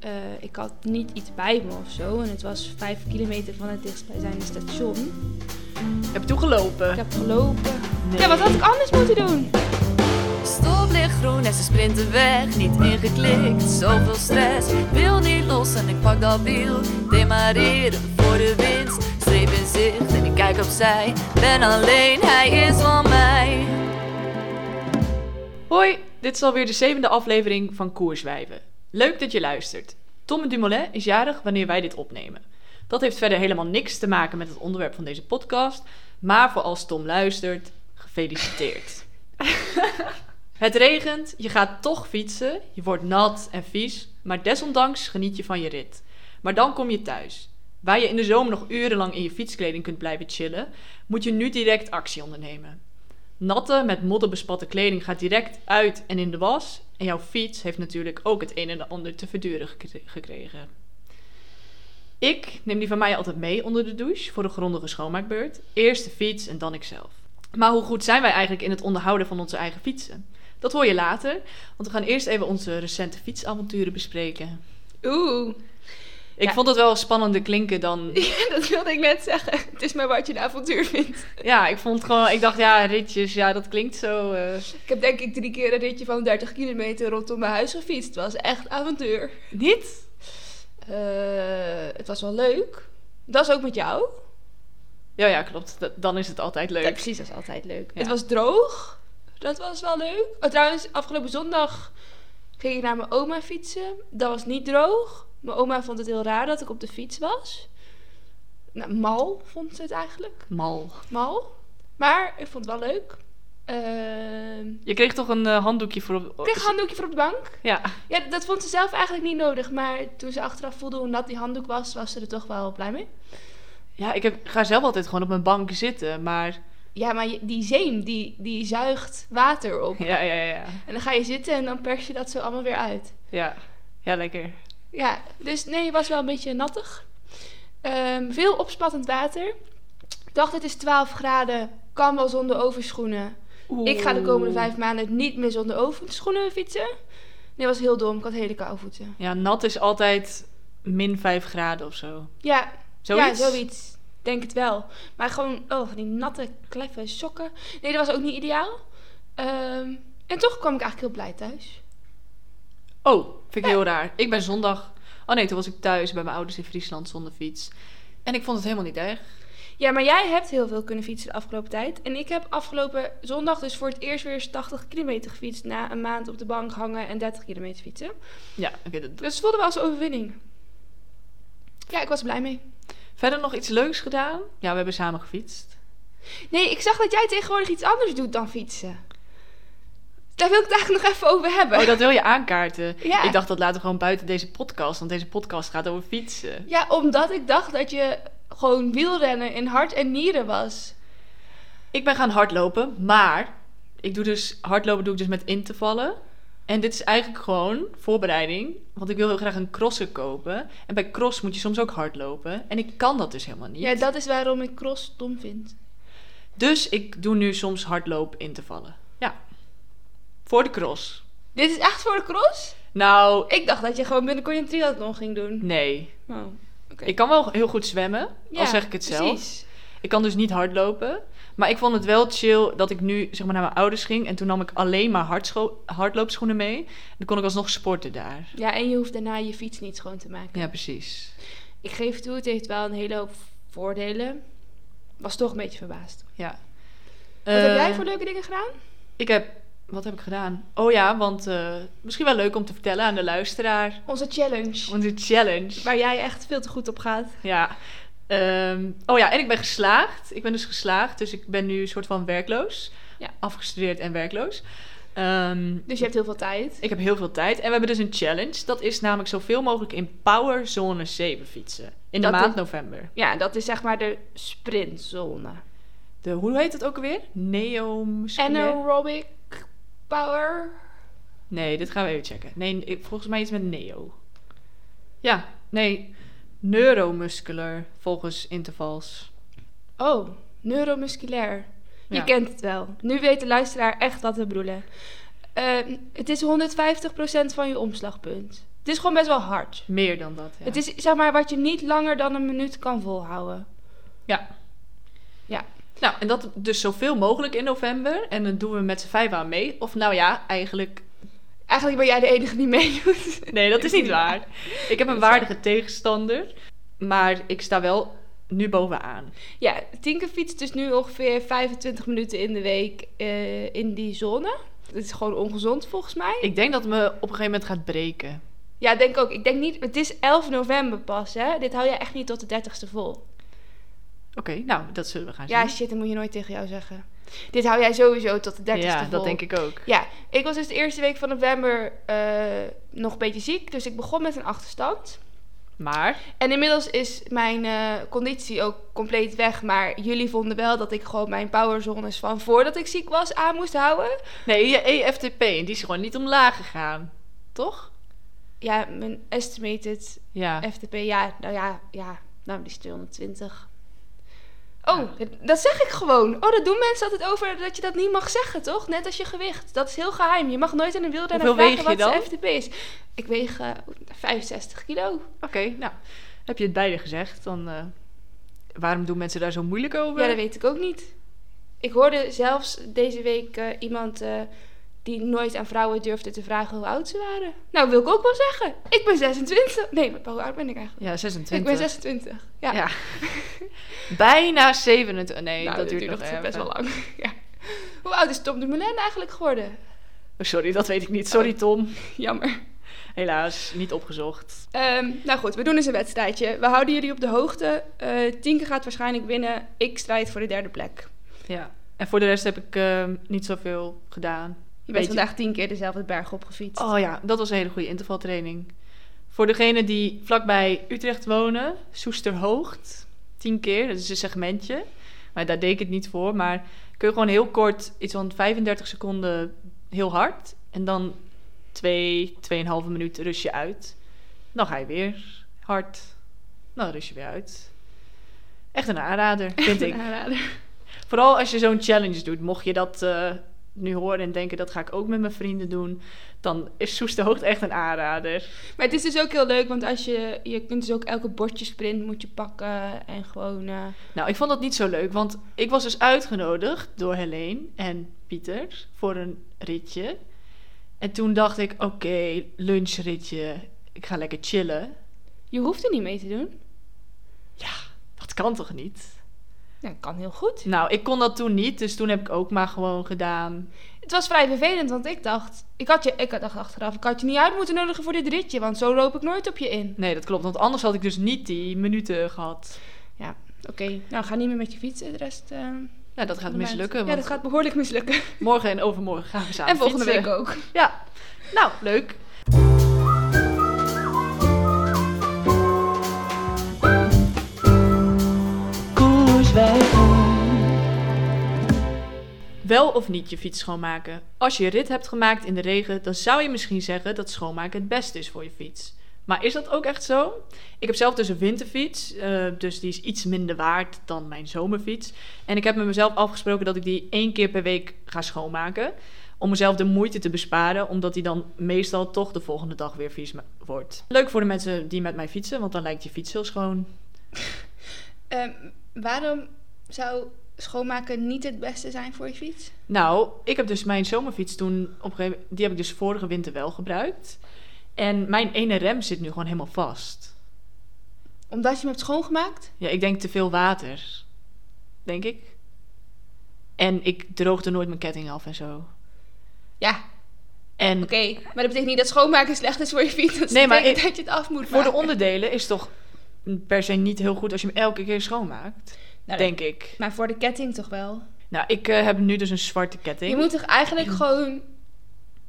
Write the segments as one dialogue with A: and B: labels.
A: eh, ik had niet iets bij me of zo. En het was vijf kilometer van het dichtstbijzijnde station.
B: Heb je toegelopen?
A: Ik heb gelopen.
B: Nee.
A: Ja, wat had ik anders moeten doen?
C: Stoplicht groen en ze sprinten weg. Niet ingeklikt, zoveel stress. Wil niet los en ik pak dat wiel. Demareren voor de winst. Streep in zicht en ik kijk opzij. Ben alleen, hij is van mij.
B: Hoi, dit is alweer de zevende aflevering van Koerswijven. Leuk dat je luistert. Tom Dumoulin is jarig wanneer wij dit opnemen. Dat heeft verder helemaal niks te maken met het onderwerp van deze podcast, maar voor als Tom luistert, gefeliciteerd. het regent, je gaat toch fietsen, je wordt nat en vies, maar desondanks geniet je van je rit. Maar dan kom je thuis. Waar je in de zomer nog urenlang in je fietskleding kunt blijven chillen, moet je nu direct actie ondernemen. Natte, met modder bespatte kleding gaat direct uit en in de was. En jouw fiets heeft natuurlijk ook het een en ander te verduren gekre- gekregen. Ik neem die van mij altijd mee onder de douche voor de grondige schoonmaakbeurt. Eerst de fiets en dan ikzelf. Maar hoe goed zijn wij eigenlijk in het onderhouden van onze eigen fietsen? Dat hoor je later, want we gaan eerst even onze recente fietsavonturen bespreken.
A: Oeh,
B: Ik
A: Ja.
B: vond het wel spannender klinken dan.
A: dat wilde ik net zeggen. Het is maar wat je een avontuur vindt.
B: Ja, ik vond gewoon. Ik dacht, ja, ritjes, ja, dat klinkt zo. eh,
A: Ik heb denk ik drie keer een ritje van 30 kilometer rondom mijn huis gefietst. Het was echt avontuur.
B: Niet?
A: Eh, het was wel leuk. Dat is ook met jou.
B: Ja, ja, klopt. Dat- dan is het altijd leuk.
A: Ja, precies, dat is altijd leuk.
B: Ja.
A: Het was droog. Dat was wel leuk. Oh, trouwens, afgelopen zondag ging ik naar mijn oma fietsen. Dat was niet droog. Mijn oma vond het heel raar dat ik op de fiets was. Nou, mal vond ze het eigenlijk.
B: Mal.
A: Mal. Maar ik vond het wel leuk. Ehm,
B: Je kreeg toch een eh, handdoekje voor op...
A: ik kreeg een handdoekje voor op de bank.
B: Ja.
A: Ja, dat vond ze zelf eigenlijk niet nodig. Maar toen ze achteraf voelde hoe nat die handdoek was, was ze er toch wel blij mee.
B: ja, ik heb, ga zelf altijd gewoon op mijn bank zitten, maar...
A: Ja, maar je- die zeem, die, die zuigt water op.
B: Ja, ja, ja.
A: En dan ga je zitten en dan pers je dat zo allemaal weer uit.
B: Ja, ja lekker.
A: Ja, dus nee, het was wel een beetje nattig. Ehm, veel opspattend water. Ik dacht, het is 12 graden, kan wel zonder overschoenen. Ik ga de komende vijf maanden niet meer zonder overschoenen fietsen. Nee, was heel dom, ik had hele koude voeten.
B: Ja, nat is altijd min 5 graden of zo.
A: Ja,
B: Zoiets?
A: ja, zoiets. Denk het wel. Maar gewoon, oh, van die natte, kleffe sokken. Nee, dat was ook niet ideaal. Ehm, en toch kwam ik eigenlijk heel blij thuis.
B: Oh, vind ik heel raar. Ik ben zondag... Oh nee, toen was ik thuis bij mijn ouders in Friesland zonder fiets. En ik vond het helemaal niet erg.
A: Ja, maar jij hebt heel veel kunnen fietsen de afgelopen tijd. En ik heb afgelopen zondag dus voor het eerst weer eens 80 kilometer gefietst... na een maand op de bank hangen en 30 kilometer fietsen.
B: Ja, oké. dat-
A: Dus het voelde wel als een overwinning. Ja, ik was er blij mee.
B: Verder nog iets leuks gedaan? Ja, we hebben samen gefietst.
A: Nee, ik zag dat jij tegenwoordig iets anders doet dan fietsen. Daar wil ik het eigenlijk nog even over hebben.
B: Oh, dat wil je aankaarten.
A: Ja.
B: Ik dacht, dat laten we gewoon buiten deze podcast. Want deze podcast gaat over fietsen.
A: Ja, omdat ik dacht dat je gewoon wielrennen in hart en nieren was.
B: Ik ben gaan hardlopen, maar ik doe dus hardlopen doe ik dus met intervallen. En dit is eigenlijk gewoon voorbereiding, want ik wil heel graag een crosser kopen. En bij cross moet je soms ook hardlopen en ik kan dat dus helemaal niet.
A: Ja, dat is waarom ik cross dom vind.
B: Dus ik doe nu soms hardloop intervallen. Ja. Voor de cross.
A: Dit is echt voor de cross?
B: Nou,
A: Ik dacht dat je gewoon binnenkort een triathlon ging doen.
B: nee.
A: Oh, oké.
B: Ik kan wel heel goed zwemmen,
A: Ja,
B: al zeg ik het zelf.
A: Precies.
B: Ik kan dus niet hardlopen. Maar ik vond het wel chill dat ik nu zeg maar, naar mijn ouders ging. En toen nam ik alleen maar hardscho- hardloopschoenen mee. En dan kon ik alsnog sporten daar.
A: Ja, en je hoeft daarna je fiets niet schoon te maken.
B: Ja, precies.
A: Ik geef toe, het heeft wel een hele hoop voordelen. Was toch een beetje verbaasd.
B: Ja.
A: Wat
B: Eh,
A: heb jij voor leuke dingen gedaan?
B: Ik heb... Wat heb ik gedaan? Oh ja, want eh, misschien wel leuk om te vertellen aan de luisteraar.
A: Onze challenge.
B: Onze challenge.
A: Waar jij echt veel te goed op gaat.
B: Ja. Ehm, oh ja, en ik ben geslaagd. Ik ben dus geslaagd, dus ik ben nu een soort van werkloos.
A: Ja.
B: Afgestudeerd en werkloos. Ehm,
A: Dus je hebt heel veel tijd.
B: ik heb heel veel tijd. En we hebben dus een challenge. Dat is namelijk zoveel mogelijk in Power Zone 7 fietsen. In
A: Dat
B: de maand
A: is-
B: november.
A: Ja, dat is zeg maar de sprintzone.
B: De, hoe heet het ook alweer? Neo misschien?
A: Anaerobic power.
B: Nee, dit gaan we even checken. Nee, ik- volgens mij iets met neo. Ja, nee. Neuromuscular volgens intervals.
A: Oh, neuromusculair. Je
B: Ja.
A: kent het wel. Nu weet de luisteraar echt wat we bedoelen. Eh, het is 150% van je omslagpunt. Het is gewoon best wel hard.
B: Meer dan dat, ja.
A: Het is zeg maar wat je niet langer dan een minuut kan volhouden.
B: Ja.
A: Ja.
B: Nou, en dat dus zoveel mogelijk in november. En dan doen we met z'n vijf aan mee. Of nou ja, eigenlijk...
A: Eigenlijk ben jij de enige die meedoet.
B: Nee, dat is niet waar. Ik heb een waardige tegenstander. Maar ik sta wel nu bovenaan.
A: Ja, Tinker fietst dus nu ongeveer 25 minuten in de week eh, in die zone. Het is gewoon ongezond volgens mij.
B: Ik denk dat het me op een gegeven moment gaat breken.
A: Ja, denk ook. Ik denk niet... Het is 11 november pas, hè. Dit hou jij echt niet tot de 30ste
B: Ah,
A: vol.
B: Oké, nou, dat zullen we gaan zien.
A: Ja, shit, dat moet je nooit tegen jou zeggen. Dit hou jij sowieso tot de 30ste vol.
B: ja dat denk ik ook.
A: Ja, ik was dus de eerste week van november eh, nog een beetje ziek. Dus ik begon met een achterstand.
B: Maar,
A: En inmiddels is mijn eh, conditie ook compleet weg. Maar jullie vonden wel dat ik gewoon mijn powerzones van voordat ik ziek was aan moest houden.
B: nee, je E EFTP, die is gewoon niet omlaag gegaan. Toch?
A: Ja, mijn estimated
B: Ja.
A: FTP, ja, nou ja, ja, nou die is 220. Oh, dat zeg ik gewoon. Oh, dat doen mensen altijd over dat je dat niet mag zeggen, toch? Net als je gewicht. Dat is heel geheim. Je mag nooit aan een wielrenner
B: Hoeveel
A: vragen
B: weeg
A: wat
B: je
A: zijn
B: dan?
A: FTP is. Ik weeg eh, 65 kilo.
B: Oké, nou, heb je het beide gezegd, dan... eh, waarom doen mensen daar zo moeilijk over?
A: Ja, dat weet ik ook niet. Ik hoorde zelfs deze week eh, iemand eh, die nooit aan vrouwen durfde te vragen hoe oud ze waren. Nou, wil ik ook wel zeggen. Ik ben 26. Nee, maar hoe oud ben ik eigenlijk?
B: Ja, 26.
A: Ik ben 26. Ja,
B: Ja. Bijna 27. Nee,
A: Nou,
B: dat duurt nog
A: echt
B: even.
A: best wel lang. ja. Hoe oud is Tom de Moulin eigenlijk geworden?
B: Oh, sorry, dat weet ik niet.
A: Oh.
B: Sorry, Tom.
A: Jammer.
B: Helaas, niet opgezocht.
A: Ehm, nou goed, we doen eens een wedstrijdje. We houden jullie op de hoogte. Eh Tinke gaat waarschijnlijk winnen. Ik strijd voor de derde plek.
B: Ja. En voor de rest heb ik ehm, niet zoveel gedaan.
A: Je bent
B: Beetje.
A: vandaag tien keer dezelfde berg opgefietst.
B: Oh ja, dat was een hele goede intervaltraining. Voor degenen die vlakbij Utrecht wonen, Soesterhoogt, tien keer, dat is een segmentje. Maar daar deed ik het niet voor. Maar kun je gewoon heel kort, iets van 35 seconden heel hard. En dan twee, 2,5 minuut rust je uit. Dan ga je weer hard. Dan rust je weer uit. Echt een aanrader, vind ik.
A: Aanrader.
B: Vooral als je zo'n challenge doet. Mocht je dat eh, nu horen en denken, dat ga ik ook met mijn vrienden doen. Dan is Soesterhoogte echt een aanrader.
A: Maar het is dus ook heel leuk, want als je, je kunt dus ook elke bordjesprint moet je pakken en gewoon... eh,
B: Nou, ik vond dat niet zo leuk. Want ik was dus uitgenodigd door Helene en Pieter voor een ritje. En toen dacht ik, oké, lunchritje. Ik ga lekker chillen.
A: je hoeft er niet mee te doen.
B: Dat kan toch niet?
A: Nou, kan heel goed.
B: Nou, ik kon dat toen niet. Dus toen heb ik ook maar gewoon gedaan.
A: Het was vrij vervelend, want ik dacht... Ik had je, ik dacht achteraf, ik had je niet uit moeten nodigen voor dit ritje, want zo loop ik nooit op je in.
B: Nee, dat klopt. Want anders had ik dus niet die minuten gehad.
A: Oké, nou ga niet meer met je fietsen, de rest... eh,
B: Nou, dat gaat
A: doe maar
B: mislukken.
A: het.
B: Want
A: Ja, dat gaat behoorlijk mislukken.
B: morgen en overmorgen gaan we samen
A: en volgende
B: fietsen.
A: week ook.
B: Ja, nou, leuk. Wel of niet je fiets schoonmaken. Als je een rit hebt gemaakt in de regen, dan zou je misschien zeggen dat schoonmaken het beste is voor je fiets. Maar is dat ook echt zo? Ik heb zelf dus een winterfiets, eh, dus die is iets minder waard dan mijn zomerfiets. En ik heb met mezelf afgesproken dat ik die één keer per week ga schoonmaken om mezelf de moeite te besparen, omdat die dan meestal toch de volgende dag weer vies ma- wordt. Leuk voor de mensen die met mij fietsen, want dan lijkt je fiets heel schoon.
A: Ehm, waarom zou schoonmaken niet het beste zijn voor je fiets?
B: Nou, ik heb dus mijn zomerfiets toen op een gegeven die heb ik dus vorige winter wel gebruikt. En mijn ene rem zit nu gewoon helemaal vast.
A: Omdat je hem hebt schoongemaakt?
B: Ja, ik denk te veel water. Denk ik. En ik droogde nooit mijn ketting af en zo.
A: Ja,
B: En
A: oké. Maar dat betekent niet dat schoonmaken slecht is voor je fiets. Dat
B: Nee, maar
A: betekent dat je het af moet
B: voor de
A: maken.
B: onderdelen is toch per se niet heel goed als je hem elke keer schoonmaakt.
A: Nou,
B: denk ik.
A: Maar voor de ketting toch wel?
B: Nou, ik eh, heb nu dus een zwarte ketting.
A: Je moet toch eigenlijk gewoon,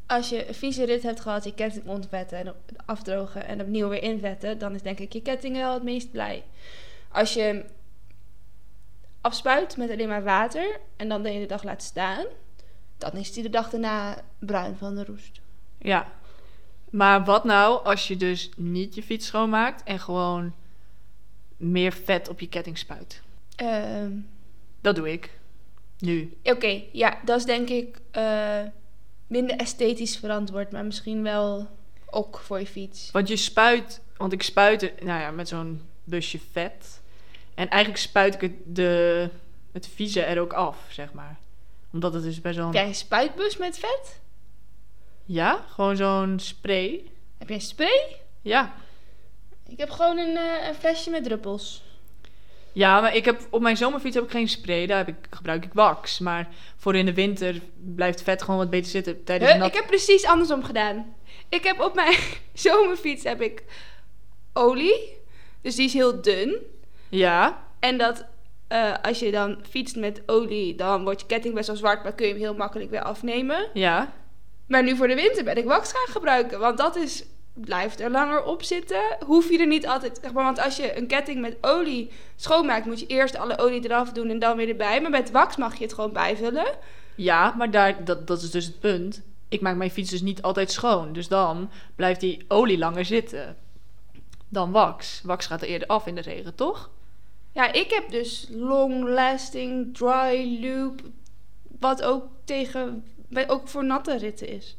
A: als je een vieze rit hebt gehad, je ketting ontvetten en afdrogen en opnieuw weer invetten, dan is denk ik je ketting wel het meest blij. Als je hem afspuit met alleen maar water en dan de hele dag laat staan, dan is die de dag daarna bruin van de roest.
B: Ja. Maar wat nou als je dus niet je fiets schoonmaakt en gewoon meer vet op je ketting spuit?
A: Ehm,
B: Dat doe ik. Nu.
A: Oké, ja, dat is denk ik eh, minder esthetisch verantwoord, maar misschien wel ok voor je fiets.
B: Want je spuit, want ik spuit het, nou ja, met zo'n busje vet. En eigenlijk spuit ik het, de, het vieze er ook af, zeg maar. Omdat het is best wel...
A: Heb jij een spuitbus met vet?
B: Ja, gewoon zo'n spray.
A: Heb jij spray?
B: Ja.
A: Ik heb gewoon een, eh, een flesje met druppels.
B: ja, maar ik heb, op mijn zomerfiets heb ik geen spray, daar heb ik, gebruik ik wax. Maar voor in de winter blijft vet gewoon wat beter zitten tijdens
A: Huh,
B: nat...
A: Ik heb precies andersom gedaan. Ik heb op mijn zomerfiets heb ik olie. Dus die is heel dun.
B: Ja,
A: En dat eh, als je dan fietst met olie, dan wordt je ketting best wel zwart, maar kun je hem heel makkelijk weer afnemen.
B: ja.
A: Maar nu voor de winter ben ik wax gaan gebruiken, want dat is, blijft er langer op zitten. Hoef je er niet altijd, zeg maar, want als je een ketting met olie schoonmaakt, moet je eerst alle olie eraf doen en dan weer erbij. Maar met wax mag je het gewoon bijvullen.
B: Ja, maar daar, dat, dat is dus het punt. Ik maak mijn fiets dus niet altijd schoon. Dus dan blijft die olie langer zitten dan wax. Wax gaat er eerder af in de regen, toch?
A: Ja, ik heb dus long lasting, dry loop, wat ook tegen, wat ook voor natte ritten is.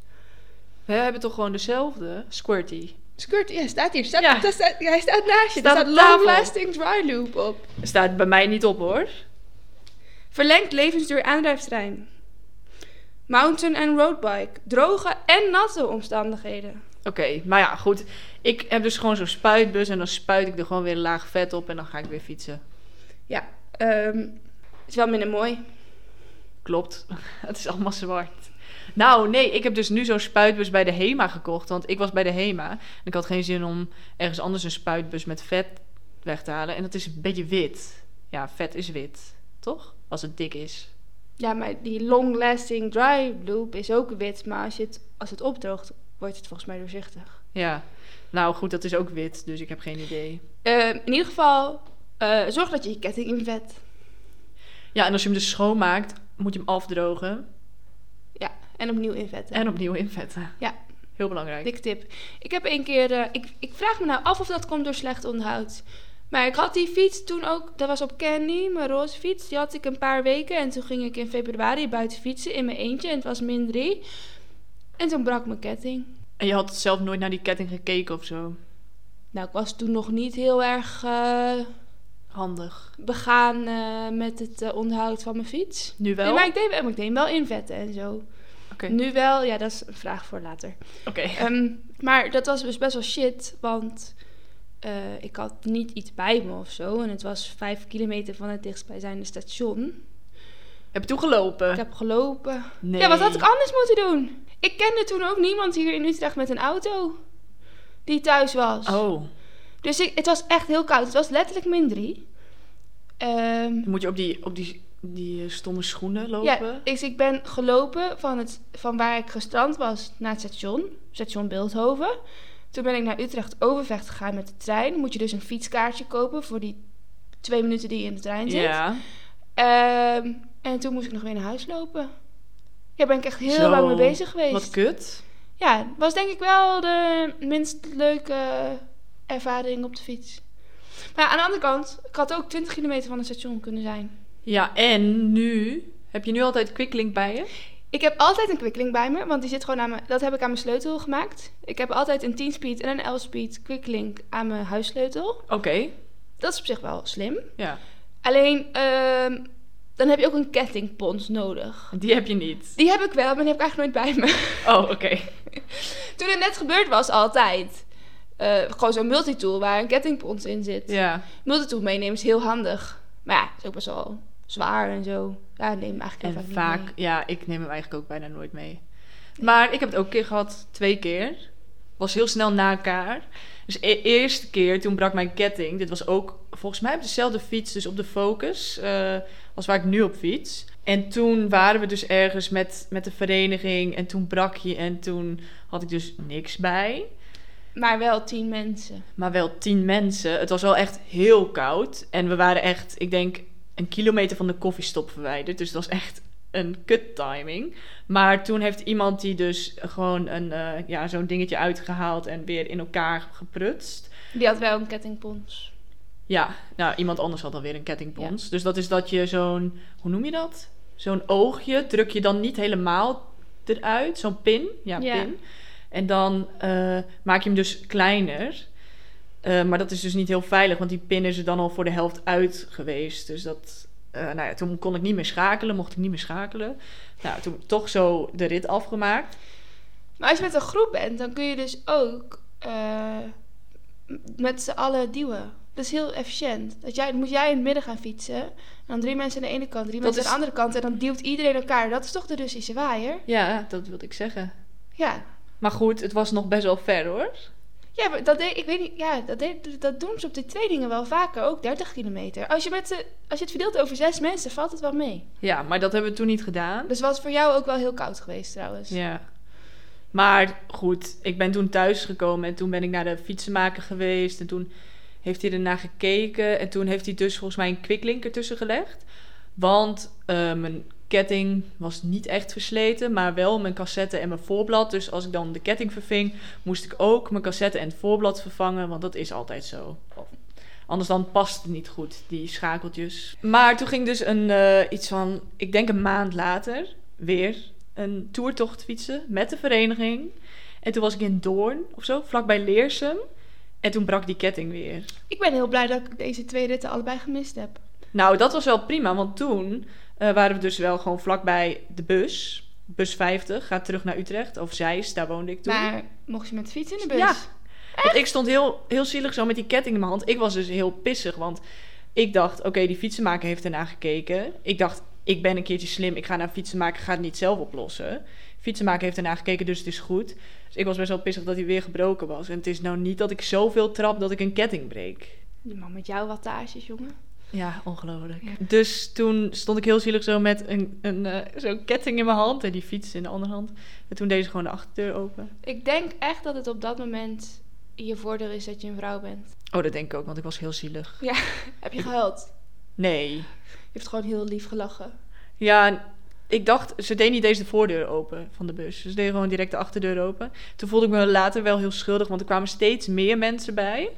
B: We hebben toch gewoon dezelfde? Squirty.
A: Skirt, ja, staat hier. Staat,
B: Ja.
A: daar staat- hij staat naast je.
B: Staat
A: daar
B: op
A: staat
B: tafel.
A: long lasting dry loop op.
B: Staat bij mij niet op hoor.
A: Verlengd levensduur aandrijfterrein. Mountain en roadbike. Droge en natte omstandigheden.
B: Oké, maar ja, goed. Ik heb dus gewoon zo'n spuitbus en dan spuit ik er gewoon weer een laag vet op en dan ga ik weer fietsen.
A: Ja, ehm, is wel minder mooi.
B: Klopt. Het is allemaal zwart. Nou, nee, ik heb dus nu zo'n spuitbus bij de HEMA gekocht. Want ik was bij de HEMA en ik had geen zin om ergens anders een spuitbus met vet weg te halen. En dat is een beetje wit. Ja, vet is wit, toch? Als het dik is.
A: Ja, maar die long lasting dry loop is ook wit. Maar als, je het, als het opdroogt, wordt het volgens mij doorzichtig.
B: Ja. Nou goed, dat is ook wit, dus ik heb geen idee.
A: Ehm, in ieder geval, eh, zorg dat je je ketting invet.
B: Ja, en als je hem dus schoonmaakt, moet je hem afdrogen
A: Ja, en opnieuw invetten.
B: en opnieuw invetten.
A: Ja.
B: Heel belangrijk.
A: Dik tip. Ik heb een keer. eh, ik, ik vraag me nou af of dat komt door slecht onderhoud. Maar ik had die fiets toen ook. Dat was op Candy, mijn roze fiets. Die had ik een paar weken. En toen ging ik in februari buiten fietsen in mijn eentje. En het was min 3. En toen brak mijn ketting.
B: En je had zelf nooit naar die ketting gekeken of zo.
A: Nou, ik was toen nog niet heel erg eh,
B: Handig.
A: begaan eh, met het eh, onderhoud van mijn fiets.
B: Nu wel?
A: Nee, maar ik deed, maar ik deed hem wel invetten en zo.
B: Oké.
A: Nu wel, ja, dat is een vraag voor later.
B: Oké.
A: Ehm, maar dat was dus best wel shit, want eh, ik had niet iets bij me of zo. En het was vijf kilometer van het dichtstbijzijnde station.
B: Heb je toegelopen?
A: Ik heb gelopen.
B: Nee.
A: Ja, wat had ik anders moeten doen? Ik kende toen ook niemand hier in Utrecht met een auto die thuis was.
B: Oh,
A: Dus ik, het was echt heel koud. Het was letterlijk min drie. Ehm,
B: dan moet je op die, op die, die eh, stomme schoenen
A: ja,
B: lopen?
A: dus ik ben gelopen van, het, van waar ik gestrand was naar het station, station Beeldhoven. Toen ben ik naar Utrecht Overvecht gegaan met de trein. Moet je dus een fietskaartje kopen voor die twee minuten die je in de trein zit. Ehm, en toen moest ik nog weer naar huis lopen. Ja, ben ik echt heel
B: Zo,
A: lang mee bezig
B: Wat
A: geweest.
B: kut.
A: Ja, was denk ik wel de minst leuke ervaring op de fiets. Maar ja, aan de andere kant, ik had ook 20 kilometer van het station kunnen zijn.
B: Ja, en nu? Heb je nu altijd quicklink bij je?
A: Ik heb altijd een quicklink bij me, want die zit gewoon aan mijn... Dat heb ik aan mijn sleutel gemaakt. Ik heb altijd een 10-speed en een 11-speed quicklink aan mijn huissleutel.
B: Oké,
A: Dat is op zich wel slim.
B: ja.
A: Alleen, ehm, dan heb je ook een kettingpons nodig.
B: Die heb je niet.
A: Die heb ik wel, maar die heb ik eigenlijk nooit bij me.
B: Oh, oké.
A: Toen het net gebeurd was, altijd. Eh, gewoon zo'n multitool waar een kettingpons in zit.
B: Ja.
A: Multitool meenemen is heel handig. Maar ja, is ook best wel zwaar en zo. Ja, neem hem eigenlijk heel
B: En
A: niet
B: vaak,
A: mee.
B: ja, ik neem hem eigenlijk ook bijna nooit mee. Maar ik heb het ook een keer gehad, twee keer. Was heel snel na elkaar. Dus e- eerste keer, toen brak mijn ketting. Dit was ook volgens mij op dezelfde fiets, dus op de Focus. eh, als waar ik nu op fiets. En toen waren we dus ergens met, met de vereniging. En toen brak je en toen had ik dus niks bij.
A: Maar wel tien mensen.
B: Maar wel tien mensen. Het was wel echt heel koud. En we waren echt, ik denk, een kilometer van de koffiestop verwijderd. Dus dat was echt een kut timing. Maar toen heeft iemand die dus gewoon een, eh, ja, zo'n dingetje uitgehaald en weer in elkaar geprutst.
A: Die had wel een kettingpons.
B: Ja, nou, iemand anders had alweer een kettingpons. Dus dat is dat je zo'n, hoe noem je dat? Zo'n oogje druk je dan niet helemaal eruit. Zo'n pin. Ja,
A: Ja.
B: pin. En dan eh, maak je hem dus kleiner. Eh, maar dat is dus niet heel veilig, want die pin is er dan al voor de helft uit geweest. Dus dat, eh, nou ja, toen kon ik niet meer schakelen, mocht ik niet meer schakelen. Nou, toen toch zo de rit afgemaakt.
A: Maar als je met een groep bent, dan kun je dus ook eh, m- met z'n allen duwen. Dat is heel efficiënt. Dat jij, moet jij in het midden gaan fietsen. En dan drie mensen aan de ene kant, drie
B: Dat
A: mensen aan de andere kant. En dan duwt iedereen elkaar. Dat is toch de Russische waaier?
B: Ja, dat wilde ik zeggen.
A: Ja.
B: Maar goed, het was nog best wel ver hoor.
A: Ja, maar dat, deed, ik weet niet, ja dat, deed, dat doen ze op de trainingen wel vaker. Ook 30 kilometer. Als je, met de, als je het verdeelt over zes mensen, valt het wel mee.
B: Ja, maar dat hebben we toen niet gedaan.
A: Dus was voor jou ook wel heel koud geweest trouwens.
B: Ja. Maar goed, ik ben toen thuisgekomen en toen ben ik naar de fietsenmaker geweest. En toen heeft hij ernaar gekeken. En toen heeft hij dus volgens mij een kwiklinker tussen gelegd. Want eh, mijn ketting was niet echt versleten, maar wel mijn cassette en mijn voorblad. Dus als ik dan de ketting verving, moest ik ook mijn cassette en het voorblad vervangen. Want dat is altijd zo. Anders dan past het niet goed, die schakeltjes. Maar toen ging dus een, eh, iets van, ik denk een maand later, weer een toertocht fietsen met de vereniging. En toen was ik in Doorn of zo, vlakbij Leersum. En toen brak die ketting weer.
A: Ik ben heel blij dat ik deze twee ritten allebei gemist heb.
B: Nou, dat was wel prima, want toen eh, waren we dus wel gewoon vlakbij de bus. Bus 50, gaat terug naar Utrecht. Of Zeist, daar woonde ik toen.
A: Maar mocht je met de fiets in de bus?
B: Ja. Want ik stond heel, heel zielig zo met die ketting in mijn hand. Ik was dus heel pissig, want ik dacht... Oké, die fietsenmaker heeft ernaar gekeken. Ik dacht, ik ben een keertje slim. Ik ga naar een fietsenmaker, ga het niet zelf oplossen. Fietsenmaker heeft ernaar gekeken, dus het is goed. Dus ik was best wel pissig dat hij weer gebroken was. En het is nou niet dat ik zoveel trap dat ik een ketting breek.
A: Die man met jouw wattages, jongen.
B: Ja, ongelooflijk.
A: Ja.
B: Dus toen stond ik heel zielig zo met een, een eh, zo'n ketting in mijn hand... en die fiets in de andere hand. En toen deed ze gewoon de achterdeur open.
A: Ik denk echt dat het op dat moment je voordeel is dat je een vrouw bent.
B: Oh, dat denk ik ook, want ik was heel zielig.
A: Heb je gehuild?
B: Nee.
A: Je hebt gewoon heel lief gelachen.
B: Ja, en ik dacht, ze deed niet eens de voordeur open van de bus. Ze deed gewoon direct de achterdeur open. Toen voelde ik me later wel heel schuldig, want er kwamen steeds meer mensen bij.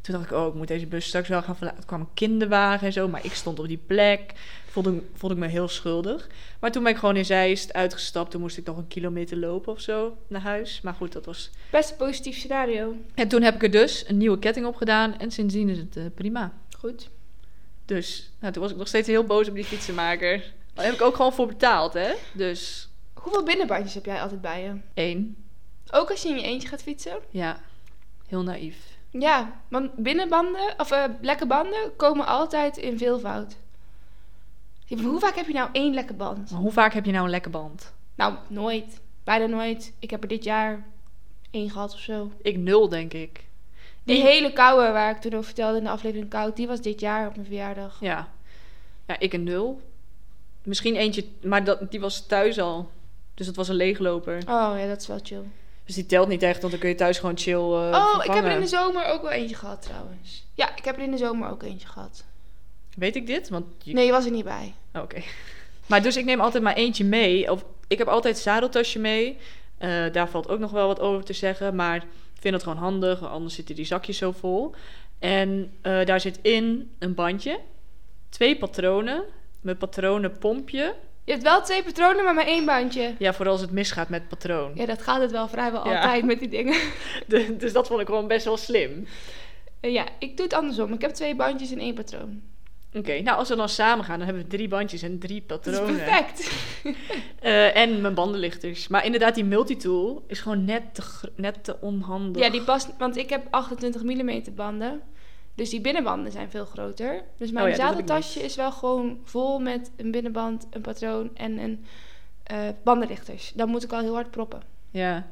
B: Toen dacht ik, oh, ik moet deze bus straks wel gaan verlaten. Er kwam een kinderwagen en zo, maar ik stond op die plek. Voelde, ik- voelde ik me heel schuldig. Maar toen ben ik gewoon in Zeist uitgestapt. Toen moest ik nog een kilometer lopen of zo naar huis. Maar goed, dat was...
A: Best een positief scenario.
B: En toen heb ik er dus een nieuwe ketting op gedaan. En sindsdien is het eh, prima.
A: Goed.
B: Dus nou, toen was ik nog steeds heel boos op die fietsenmaker. Daar heb ik ook gewoon voor betaald, hè? Dus
A: Hoeveel binnenbandjes heb jij altijd bij je?
B: één.
A: Ook als je in je eentje gaat fietsen?
B: Ja, heel naïef.
A: Ja, want binnenbanden, of eh, lekke banden, komen altijd in veelvoud. Ja, maar Hoe vaak heb je nou één lekke band?
B: Maar hoe vaak heb je nou een lekke band?
A: Nou, nooit. Bijna nooit. Ik heb er dit jaar één gehad of zo.
B: Ik nul, denk ik.
A: Die
B: Eén-
A: hele koude waar ik toen over vertelde in de aflevering Koud, die was dit jaar op mijn verjaardag.
B: Ja. Ja, ik een nul. Misschien eentje, maar dat, die was thuis al. Dus dat was een leegloper.
A: Oh ja, dat is wel chill.
B: Dus die telt niet echt, want dan kun je thuis gewoon chill eh
A: oh, ik
B: vervangen.
A: heb er in de zomer ook wel eentje gehad trouwens. Ja, ik heb er in de zomer ook eentje gehad.
B: Weet ik dit? Want je-
A: Nee, je was er niet bij.
B: Oh, Oké. Maar dus ik neem altijd maar eentje mee. Of ik heb altijd zadeltasje mee. Eh, daar valt ook nog wel wat over te zeggen. Maar ik vind dat gewoon handig. want Anders zitten die zakjes zo vol. En eh, daar zit in een bandje. Twee patronen. Mijn patronenpompje.
A: Je hebt wel twee patronen, maar maar één bandje.
B: Ja, vooral als het misgaat met patroon.
A: Ja, dat gaat het wel vrijwel
B: Ja.
A: altijd met die dingen.
B: De- dus dat vond ik gewoon best wel slim.
A: Eh, ja, ik doe het andersom. Ik heb twee bandjes en één patroon.
B: Oké, nou als we dan samen gaan, dan hebben we drie bandjes en drie
A: Dat is
B: patronen.
A: perfect.
B: Eh, en mijn bandenlichters. Maar inderdaad, die multitool is gewoon net te, gr- net te onhandig.
A: Ja, die past, want ik heb 28 mm banden. Dus die binnenbanden zijn veel groter. Dus mijn
B: Oh ja, dat heb ik
A: zadeltasje
B: niet.
A: is wel gewoon vol met een binnenband, een patroon en een eh, bandenlichters. Dan moet ik al heel hard proppen.
B: Ja.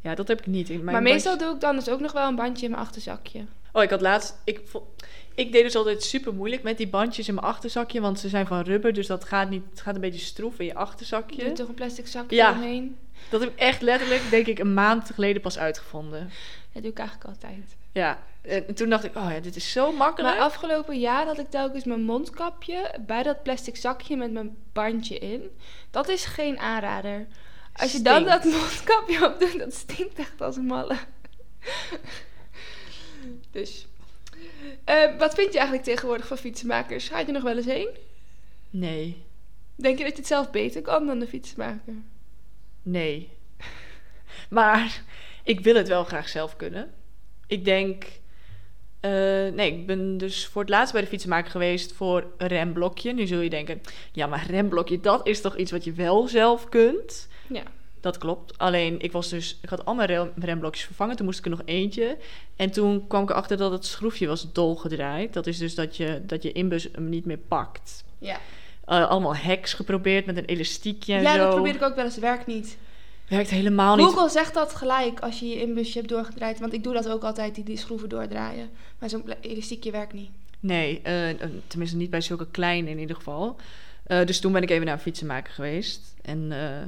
B: ja, dat heb ik niet. In mijn
A: maar meestal
B: bandje-
A: doe ik dan dus ook nog wel een bandje in mijn achterzakje.
B: Oh, ik had laatst... Ik, vo- ik deed dus altijd super moeilijk met die bandjes in mijn achterzakje. Want ze zijn van rubber, dus dat gaat, niet, het gaat een beetje stroef in je
A: Je doet
B: achterzakje.
A: toch een plastic zakje
B: Ja.
A: omheen?
B: Dat heb ik echt letterlijk, denk ik, een maand geleden pas uitgevonden.
A: Dat doe ik eigenlijk altijd.
B: Ja, en toen dacht ik, oh ja, dit is zo makkelijk.
A: Maar afgelopen jaar had ik telkens mijn mondkapje bij dat plastic zakje met mijn bandje in. Dat is geen aanrader. Als je dan
B: Stinkt.
A: dat mondkapje op doet, dat stinkt echt als een malle. dus. Eh, wat vind je eigenlijk tegenwoordig van fietsenmakers? Ga je er nog wel eens heen?
B: Nee,
A: Denk je dat je het zelf beter kan dan de fietsenmaker?
B: nee. Maar ik wil het wel graag zelf kunnen. Ik denk... eh, nee, ik ben dus voor het laatst bij de fietsenmaker geweest voor een remblokje. Nu zul je denken, ja, maar remblokje, dat is toch iets wat je wel zelf kunt?
A: Ja.
B: Dat klopt. Alleen, ik was dus... Ik had al mijn rem- remblokjes vervangen. Toen moest ik er nog eentje. En toen kwam ik erachter dat het schroefje was dolgedraaid. Dat is dus dat je, dat je inbus hem niet meer pakt.
A: Ja,
B: Eh, allemaal hacks geprobeerd met een elastiekje en
A: ja
B: zo.
A: dat probeer ik ook wel eens. Werkt niet.
B: Werkt helemaal niet.
A: Google zegt dat gelijk als je je inbusje hebt doorgedraaid. Want ik doe dat ook altijd, die, die schroeven doordraaien. Maar zo'n ple- elastiekje werkt niet.
B: Nee, eh, eh, tenminste niet bij zulke kleine in ieder geval. Eh, dus toen ben ik even naar een fietsenmaker geweest. En eh,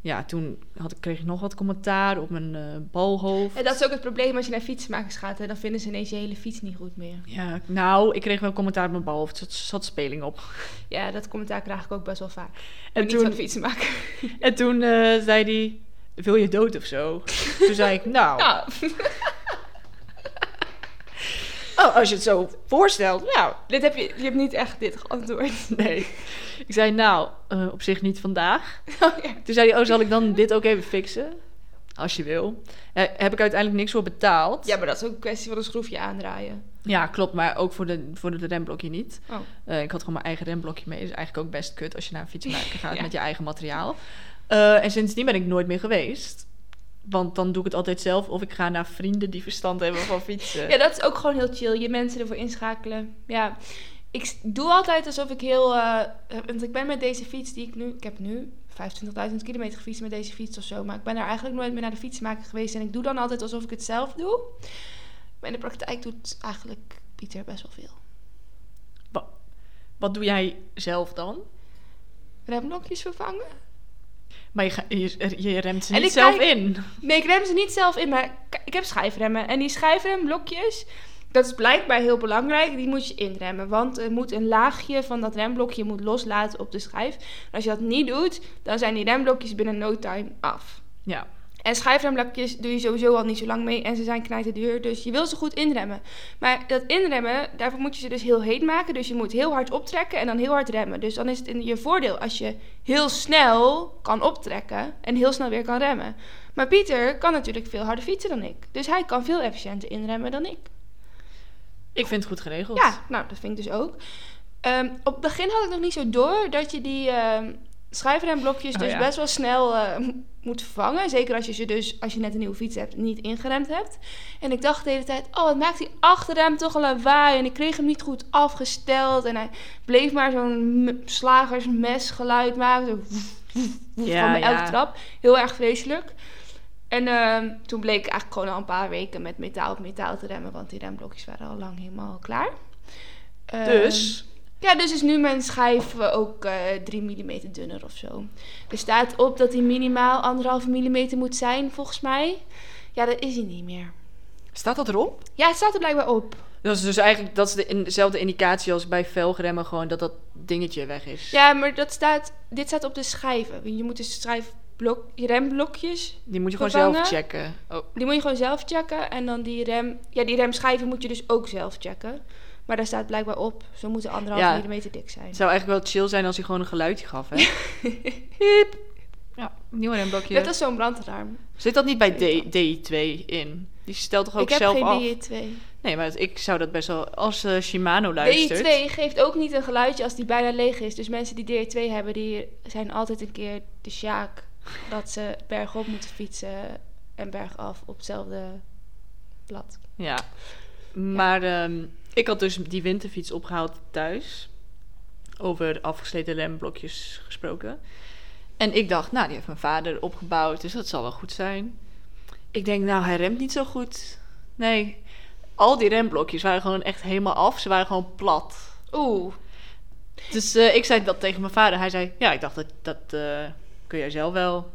B: ja, toen had, ik- kreeg ik nog wat commentaar op mijn eh, balhoofd.
A: En dat is ook het probleem als je naar fietsmakers gaat. Hè, dan vinden ze ineens je hele fiets niet goed meer.
B: Ja, nou, ik kreeg wel commentaar op mijn balhoofd. Er zat, zat speling op.
A: Ja, dat commentaar krijg ik ook best wel vaak. En
B: En
A: niet van
B: toen,
A: de fietsenmaker.
B: en toen eh, zei hij, wil je dood of zo? toen zei ik, nou,
A: Nou,
B: oh, als je het zo voorstelt, nou,
A: dit heb je, je hebt niet echt dit geantwoord.
B: Nee. Ik zei, nou, eh, op zich niet vandaag.
A: Oh, ja.
B: Toen zei hij, oh, zal ik dan dit ook even fixen? Als je wil. Eh, heb ik uiteindelijk niks voor betaald.
A: ja, maar dat is ook een kwestie van een schroefje aandraaien.
B: Ja, klopt, maar ook voor de, voor de remblokje niet.
A: Oh.
B: Eh, ik had gewoon mijn eigen remblokje mee. is eigenlijk ook best kut als je naar een fietsenmaker gaat
A: Ja.
B: met je eigen materiaal. Eh, en sindsdien ben ik nooit meer geweest. Want dan doe ik het altijd zelf. Of ik ga naar vrienden die verstand hebben van fietsen.
A: Ja, dat is ook gewoon heel chill. Je mensen ervoor inschakelen. Ja. Ik s- doe altijd alsof ik heel... eh, want ik ben met deze fiets die ik nu... Ik heb nu 25.000 kilometer gefietst met deze fiets of zo. Maar ik ben daar eigenlijk nooit meer naar de fietsmaker geweest. En ik doe dan altijd alsof ik het zelf doe. Maar in de praktijk doet eigenlijk Pieter best wel veel.
B: Wa- Wat doe jij zelf dan?
A: Remblokjes vervangen?
B: Maar je, ga- je, je remt ze
A: En
B: niet
A: ik
B: zelf
A: kijk-
B: in.
A: Nee, ik rem ze niet zelf in, maar k- ik heb schijfremmen. En die schijfremblokjes, dat is blijkbaar heel belangrijk, die moet je inremmen. Want er moet een laagje van dat remblokje moet loslaten op de schijf. En als je dat niet doet, dan zijn die remblokjes binnen no time af.
B: Ja.
A: En schijfremblokjes doe je sowieso al niet zo lang mee en ze zijn knijterduur, dus je wil ze goed inremmen. Maar dat inremmen, daarvoor moet je ze dus heel heet maken. Dus je moet heel hard optrekken en dan heel hard remmen. Dus dan is het in je voordeel als je heel snel kan optrekken en heel snel weer kan remmen. Maar Pieter kan natuurlijk veel harder fietsen dan ik. Dus hij kan veel efficiënter inremmen dan ik.
B: Ik vind het goed geregeld.
A: Ja, nou, dat vind ik dus ook. Ehm, op het begin had ik nog niet zo door dat je die ehm schijfremblokjes
B: Oh,
A: dus
B: ja.
A: best wel snel eh, m- moet vervangen. Zeker als je ze dus, als je net een nieuwe fiets hebt, niet ingeremd hebt. En ik dacht de hele tijd, oh, wat maakt die achterrem toch een lawaai. En ik kreeg hem niet goed afgesteld. En hij bleef maar zo'n m- slagersmesgeluid maken. Zo woef, woef, woef
B: Ja,
A: van bij elke
B: ja.
A: trap. Heel erg vreselijk. En ehm, toen bleek ik eigenlijk gewoon al een paar weken met metaal op metaal te remmen. Want die remblokjes waren al lang helemaal klaar. Ehm,
B: Dus,
A: ja, dus is nu mijn schijf eh, ook eh 3 mm dunner of zo. Er staat op dat hij minimaal 1,5 mm moet zijn, volgens mij. Ja, dat is hij niet meer.
B: staat dat erop?
A: Ja, het staat er blijkbaar op.
B: Dat is dus eigenlijk dat is de, in- dezelfde indicatie als bij velgremmen, gewoon dat dat dingetje weg is.
A: Ja, maar dat staat, dit staat op de schijven. Je moet de schijfblok, je remblokjes,
B: Die moet je gewoon
A: Vervangen.
B: zelf checken. Oh,
A: die moet je gewoon zelf checken. En dan die rem, ja, die remschijven moet je dus ook zelf checken. Maar daar staat blijkbaar op, ze moeten 1,5
B: Ja.
A: mm dik zijn.
B: het zou eigenlijk wel chill zijn als hij gewoon een geluidje gaf, hè? Hiep. Ja, nieuw remblokje.
A: Net als zo'n brandalarm.
B: Zit dat niet bij D, D2 in? Die stelt toch ook
A: Ik heb
B: zelf
A: geen E
B: af?
A: DE2.
B: Nee, maar het- ik zou dat best wel... Als eh, Shimano luistert...
A: DE2 E geeft ook niet een geluidje als die bijna leeg is. Dus mensen die DE2 hebben, die zijn altijd een keer de sjaak dat ze bergop moeten fietsen en bergaf op hetzelfde blad.
B: Ja. Maar ehm, ik had dus die winterfiets opgehaald thuis. Over afgesleten remblokjes gesproken. En ik dacht, nou, die heeft mijn vader opgebouwd, dus dat zal wel goed zijn. Ik denk, nou, hij remt niet zo goed. Nee, al die remblokjes waren gewoon echt helemaal af. Ze waren gewoon plat.
A: Oeh,
B: Dus eh, ik zei dat tegen mijn vader. Hij zei, ja, ik dacht, dat, dat eh, kun jij zelf wel.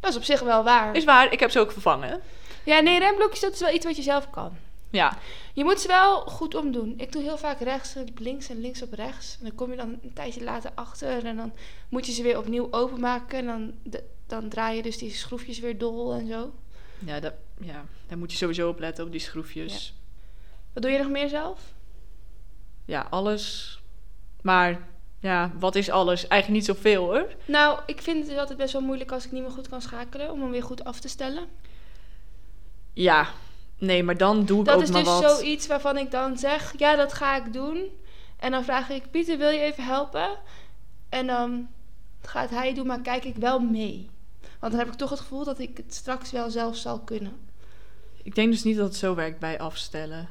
A: dat is op zich wel waar.
B: Is waar, ik heb ze ook vervangen.
A: Ja, nee, remblokjes, dat is wel iets wat je zelf kan.
B: Ja,
A: Je moet ze wel goed omdoen. Ik doe heel vaak rechts op links en links op rechts. En dan kom je dan een tijdje later achter. En dan moet je ze weer opnieuw openmaken. En dan, dan draai je dus die schroefjes weer dol en zo.
B: ja, dat, ja daar moet je sowieso op letten, op die schroefjes.
A: Wat doe je nog meer zelf?
B: ja, alles. Maar Ja, wat is alles? Eigenlijk niet zoveel hoor.
A: Nou, ik vind het altijd best wel moeilijk als ik niet meer goed kan schakelen om hem weer goed af te stellen.
B: Ja, nee, maar dan doe ik
A: Dat
B: ook
A: is
B: maar
A: dus
B: wat.
A: zoiets waarvan ik dan zeg, ja, dat ga ik doen. En dan vraag ik, Pieter, wil je even helpen? En dan gaat hij doen, maar kijk ik wel mee. Want dan heb ik toch het gevoel dat ik het straks wel zelf zal kunnen.
B: Ik denk dus niet dat het zo werkt bij afstellen.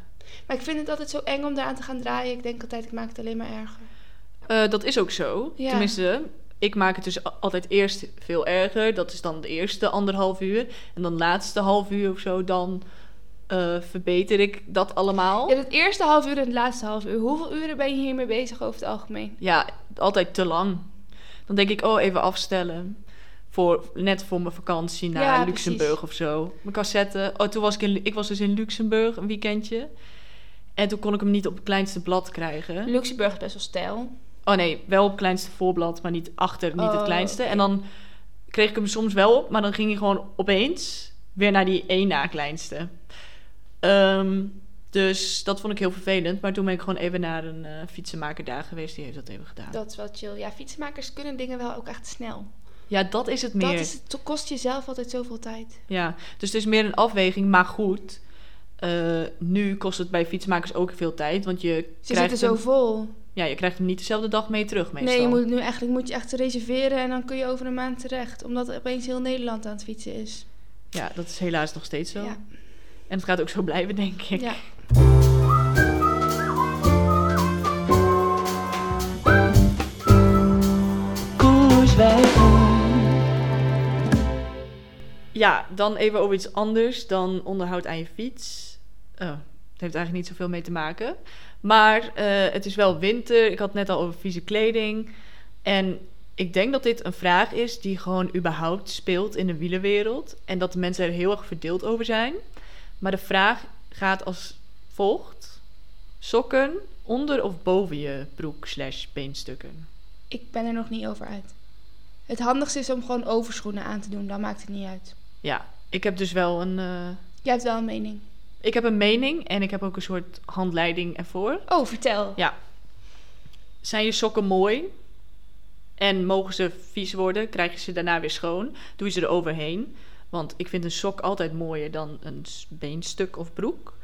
A: Maar ik vind het altijd zo eng om daaraan te gaan draaien. Ik denk altijd, ik maak het alleen maar erger.
B: Eh, dat is ook zo.
A: Ja.
B: Tenminste, ik maak het dus a- altijd eerst veel erger. Dat is dan de eerste anderhalf uur. En dan de laatste half uur of zo, dan eh, verbeter ik dat allemaal.
A: Ja,
B: Ja.
A: het eerste half uur en het laatste half uur. Hoeveel uren ben je hiermee bezig over het algemeen?
B: altijd te lang. Dan denk ik, oh, even afstellen. Voor, net voor mijn vakantie naar
A: Ja,
B: Luxemburg of zo. Mijn cassette. Oh, toen was ik, in, ik was dus in Luxemburg een weekendje. En toen kon ik hem niet op het kleinste blad krijgen.
A: Luxemburg is best wel stijl.
B: Oh nee, wel op het kleinste voorblad, maar niet achter, niet het
A: Oh,
B: kleinste.
A: oké.
B: En dan kreeg ik hem soms wel op, maar dan ging hij gewoon opeens weer naar die één na kleinste. Ehm, dus dat vond ik heel vervelend. Maar toen ben ik gewoon even naar een eh, fietsenmaker daar geweest. Die heeft dat even gedaan.
A: Dat is wel chill. Ja, fietsmakers kunnen dingen wel ook echt snel.
B: Ja, dat is het meer.
A: Dat is, het kost jezelf altijd zoveel tijd.
B: Ja, dus het is meer een afweging. Maar goed, eh, nu kost het bij fietsmakers ook veel tijd. Want je,
A: Ze
B: krijgt
A: zitten zo
B: hem,
A: vol.
B: ja, je krijgt hem niet dezelfde dag mee terug meestal.
A: Nee, je moet nu eigenlijk moet je echt reserveren en dan kun je over een maand terecht. Omdat opeens heel Nederland aan het fietsen is.
B: Ja, dat is helaas nog steeds zo.
A: Ja.
B: En het gaat ook zo blijven, denk ik.
A: ja.
B: Ja, dan even over iets anders dan onderhoud aan je fiets. Oh, het heeft eigenlijk niet zoveel mee te maken. Maar eh, het is wel winter. Ik had het net al over vieze kleding. En ik denk dat dit een vraag is die gewoon überhaupt speelt in de wielenwereld. En dat de mensen er heel erg verdeeld over zijn. Maar de vraag gaat als volgt. Sokken onder of boven je broek slash beenstukken?
A: Ik ben er nog niet over uit. Het handigste is om gewoon overschoenen aan te doen. Dan maakt het niet uit.
B: Ja, ik heb dus wel een... eh,
A: Jij hebt wel een mening.
B: ik heb een mening en ik heb ook een soort handleiding ervoor.
A: Oh, vertel.
B: Ja. Zijn je sokken mooi? En mogen ze vies worden? Krijg je ze daarna weer schoon? Doe je ze eroverheen? Want ik vind een sok altijd mooier dan een s- beenstuk of broek.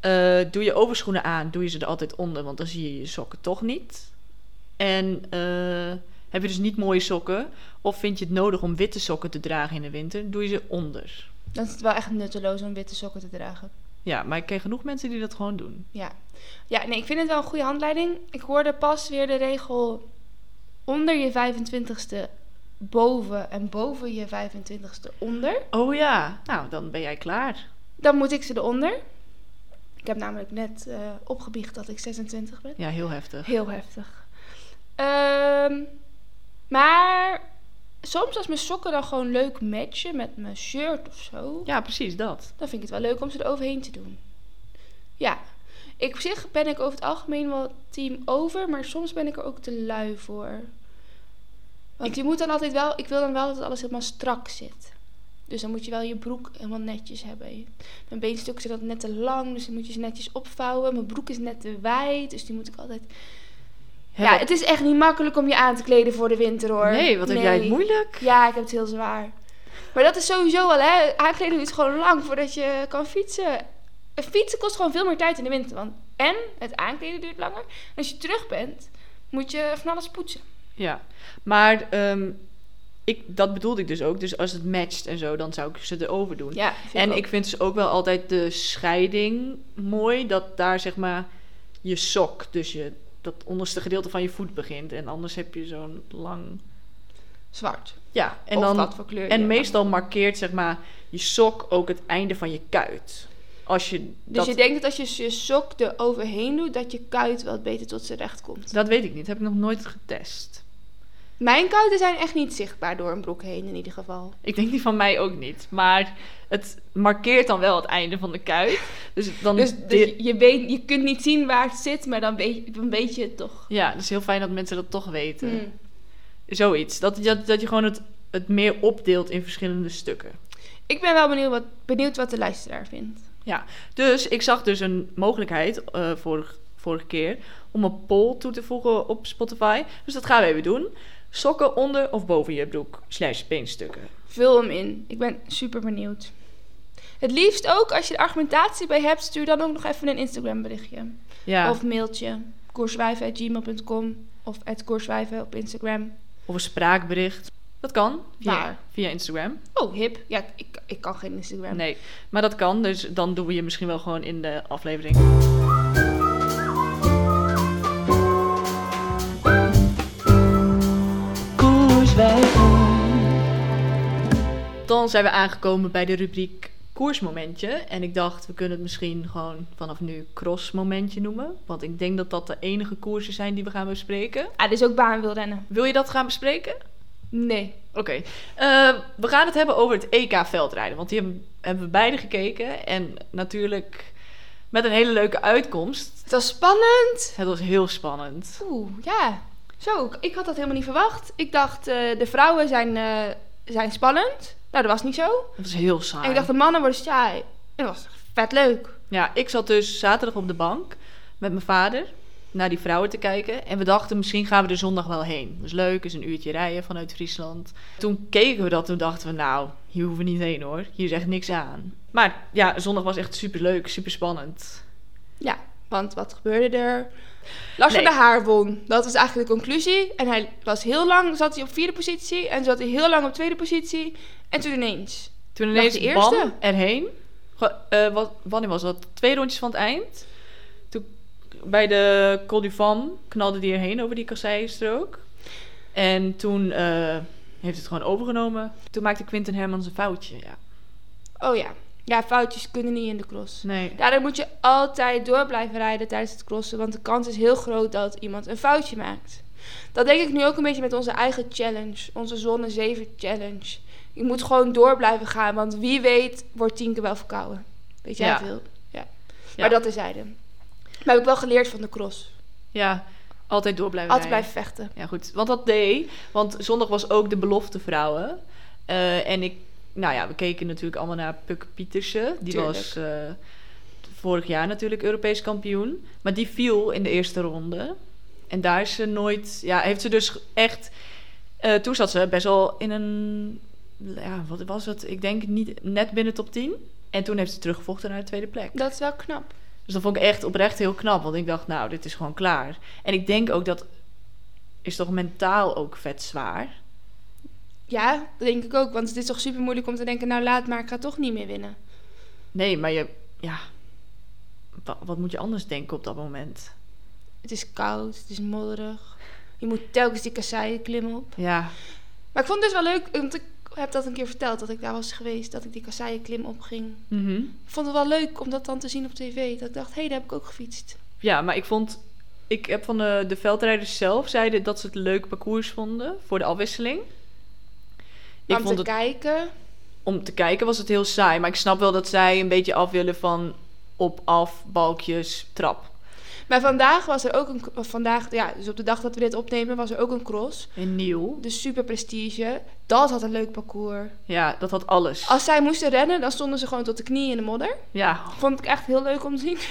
B: Eh, doe je overschoenen aan, doe je ze er altijd onder, want dan zie je je sokken toch niet. En eh, heb je dus niet mooie sokken, of vind je het nodig om witte sokken te dragen in de winter, doe je ze onder.
A: Dan is het wel echt nutteloos om witte sokken te dragen.
B: Ja, maar ik ken genoeg mensen die dat gewoon doen.
A: Ja. ja, nee, ik vind het wel een goede handleiding. Ik hoorde pas weer de regel onder je 25ste boven en boven je 25ste onder.
B: Oh ja, nou dan ben jij klaar.
A: Dan moet ik ze eronder. Ik heb namelijk net eh, opgebiecht dat ik 26 ben.
B: Ja, heel heftig.
A: Heel heftig. Ehm, maar soms als mijn sokken dan gewoon leuk matchen met mijn shirt of zo,
B: Ja, precies dat.
A: dan vind ik het wel leuk om ze eroverheen te doen. Ja, ik, op zich ben ik over het algemeen wel team over, maar soms ben ik er ook te lui voor. Want je moet dan altijd wel, ik wil dan wel dat alles helemaal strak zit. Dus dan moet je wel je broek helemaal netjes hebben. Mijn beenstukken zijn altijd net te lang, dus dan moet je ze netjes opvouwen. Mijn broek is net te wijd, dus die moet ik altijd...
B: Hè,
A: Ja,
B: wat-
A: het is echt niet makkelijk om je aan te kleden voor de winter hoor.
B: Nee, wat heb jij het moeilijk?
A: Ja, ik heb het heel zwaar. Maar dat is sowieso al, hè. Aankleding is gewoon lang voordat je kan fietsen. En Fietsen kost gewoon veel meer tijd in de winter. Want en het aankleden duurt langer. En als je terug bent, moet je van alles poetsen.
B: Ja, maar ehm, ik, dat bedoelde ik dus ook. Dus als het matcht en zo, dan zou ik ze erover doen.
A: Ja,
B: en ik vind dus ook wel altijd de scheiding mooi. Dat daar zeg maar je sok, dus je, dat onderste gedeelte van je voet begint. En anders heb je zo'n lang...
A: zwart.
B: Ja, en,
A: of
B: dan,
A: wat voor kleur. je-
B: en meestal markeert zeg maar je sok ook het einde van je kuit. Als je
A: Dus
B: dat,
A: je denkt dat als je je sok er overheen doet, dat je kuit wat beter tot zijn recht komt.
B: dat weet ik niet, heb ik nog nooit getest.
A: Mijn kuiten zijn echt niet zichtbaar door een broek heen in ieder geval.
B: Ik denk die van mij ook niet. Maar het markeert dan wel het einde van de kuit. Dus dan...
A: Dus,
B: de-
A: dus je, je weet, je kunt niet zien waar het zit, maar dan weet, je- dan weet je het toch.
B: Ja, dat is heel fijn dat mensen dat toch weten.
A: Hmm.
B: Zoiets. Dat, dat, dat je gewoon het, het meer opdeelt in verschillende stukken.
A: Ik ben wel benieuwd wat, benieuwd wat de luisteraar vindt.
B: Dus ik zag dus een mogelijkheid eh, vorig, vorige keer, om een poll toe te voegen op Spotify. Dus dat gaan we even doen. Sokken onder of boven je broek, slash beenstukken.
A: Vul hem in. Ik ben super benieuwd. Het liefst ook, als je er argumentatie bij hebt, stuur dan ook nog even een Instagram berichtje.
B: Ja, of,
A: Of mailtje. Koerswijven.gmail.com of at koerswijven op Instagram.
B: een spraakbericht. Dat kan, via,
A: Waar?
B: via Instagram.
A: Oh, hip. Ja, ik, ik kan geen Instagram.
B: Nee, maar dat kan, dus dan doen we je misschien wel gewoon in de aflevering. Dan zijn we aangekomen bij de rubriek koersmomentje. En ik dacht, we kunnen het misschien gewoon vanaf nu crossmomentje noemen. Want ik denk dat dat de enige koersen zijn die we gaan bespreken.
A: Ah, dit is ook baanwielrennen.
B: Wil je dat gaan bespreken?
A: Nee.
B: Oké, Eh, we gaan het hebben over het EK veldrijden. Want die hebben, hebben we beide gekeken. En natuurlijk met een hele leuke uitkomst.
A: Het was spannend.
B: Het was heel spannend.
A: Oeh, ja. Zo, ik- ik had dat helemaal niet verwacht. Ik dacht, eh, de vrouwen zijn, eh, zijn spannend. Nou, dat was niet zo.
B: Het was heel saai.
A: En ik dacht, de mannen worden saai. En dat was vet leuk.
B: Ja, ik zat dus zaterdag op de bank met mijn vader naar die vrouwen te kijken. En we dachten, misschien gaan we er zondag wel heen. Dus leuk, is een uurtje rijden vanuit Friesland. Toen keken we dat, toen dachten we, nou, hier hoeven we niet heen hoor. Hier is echt niks aan. Maar ja, zondag was echt superleuk, superspannend.
A: Ja, want wat gebeurde er? Lars van
B: Nee.
A: der Haar won. Dat was eigenlijk de conclusie. En hij was heel lang, zat hij op vierde positie. En zat hij heel lang op tweede positie. En toen ineens.
B: Toen
A: Lag
B: ineens
A: de eerste?
B: bam, erheen. Ge- eh, wat, wanneer was dat? Twee rondjes van het eind. Toen bij de Col du Vam knalde die erheen over die kasseienstrook. En toen eh, heeft het gewoon overgenomen. Toen maakte Quinten Hermans een foutje. Ja.
A: Oh ja. Ja, foutjes kunnen niet in de cross.
B: Dus Nee.
A: Daarom moet je altijd door blijven rijden tijdens het crossen. Want de kans is heel groot dat iemand een foutje maakt. Dat denk ik nu ook een beetje met onze eigen challenge. Onze Zonne 7 challenge. Je moet gewoon door blijven gaan. Want wie weet wordt tien keer wel verkouden. Weet jij
B: Ja.
A: veel? Ja.
B: Ja.
A: Maar dat is zijde. Maar heb ik wel geleerd van de cross.
B: Ja, altijd door blijven
A: Altijd
B: rijden.
A: blijven vechten.
B: Ja, goed. Want dat deed. Want zondag was ook de belofte vrouwen. Eh, en ik, nou ja, we keken natuurlijk allemaal naar Puk Pietersen. Die
A: Tuurlijk.
B: was eh, vorig jaar natuurlijk Europees kampioen. Maar die viel in de eerste ronde. En daar is ze nooit. Ja, heeft ze dus echt. eh, toen zat ze best wel in een. Ja, wat was het? Ik denk niet, net binnen top 10. En toen heeft ze teruggevochten naar de tweede plek.
A: Dat is wel knap.
B: Dus dat vond ik echt oprecht heel knap. Want ik dacht, nou, dit is gewoon klaar. En ik denk ook dat is toch mentaal ook vet zwaar.
A: Ja, dat denk ik ook. Want het is toch super moeilijk om te denken... nou laat maar, ik ga toch niet meer winnen.
B: Nee, maar je, ja, wa- wat moet je anders denken op dat moment?
A: Het is koud, het is modderig. Je moet telkens die kasseien klimmen op.
B: Ja,
A: Maar ik vond het dus wel leuk, want ik heb dat een keer verteld dat ik daar was geweest, dat ik die kasseieklim opging.
B: mhm.
A: Ik vond het wel leuk om dat dan te zien op tv. Dat ik dacht, hé, hey, daar heb ik ook gefietst.
B: ja, maar ik vond, ik heb van de, de veldrijders zelf zeiden dat ze het leuk parcours vonden voor de afwisseling. Ik
A: om
B: vond
A: te
B: het
A: kijken.
B: om te kijken was het heel saai, maar ik snap wel dat zij een beetje af willen van op af balkjes trap.
A: Maar vandaag was er ook een. of Vandaag, ja, dus op de dag dat we dit opnemen, was er ook een cross.
B: En nieuw.
A: Dus super prestige. Dat had een leuk parcours.
B: Ja, dat had alles.
A: Als zij moesten rennen, dan stonden ze gewoon tot de knieën in de modder.
B: Ja,
A: Vond ik echt heel leuk om te zien.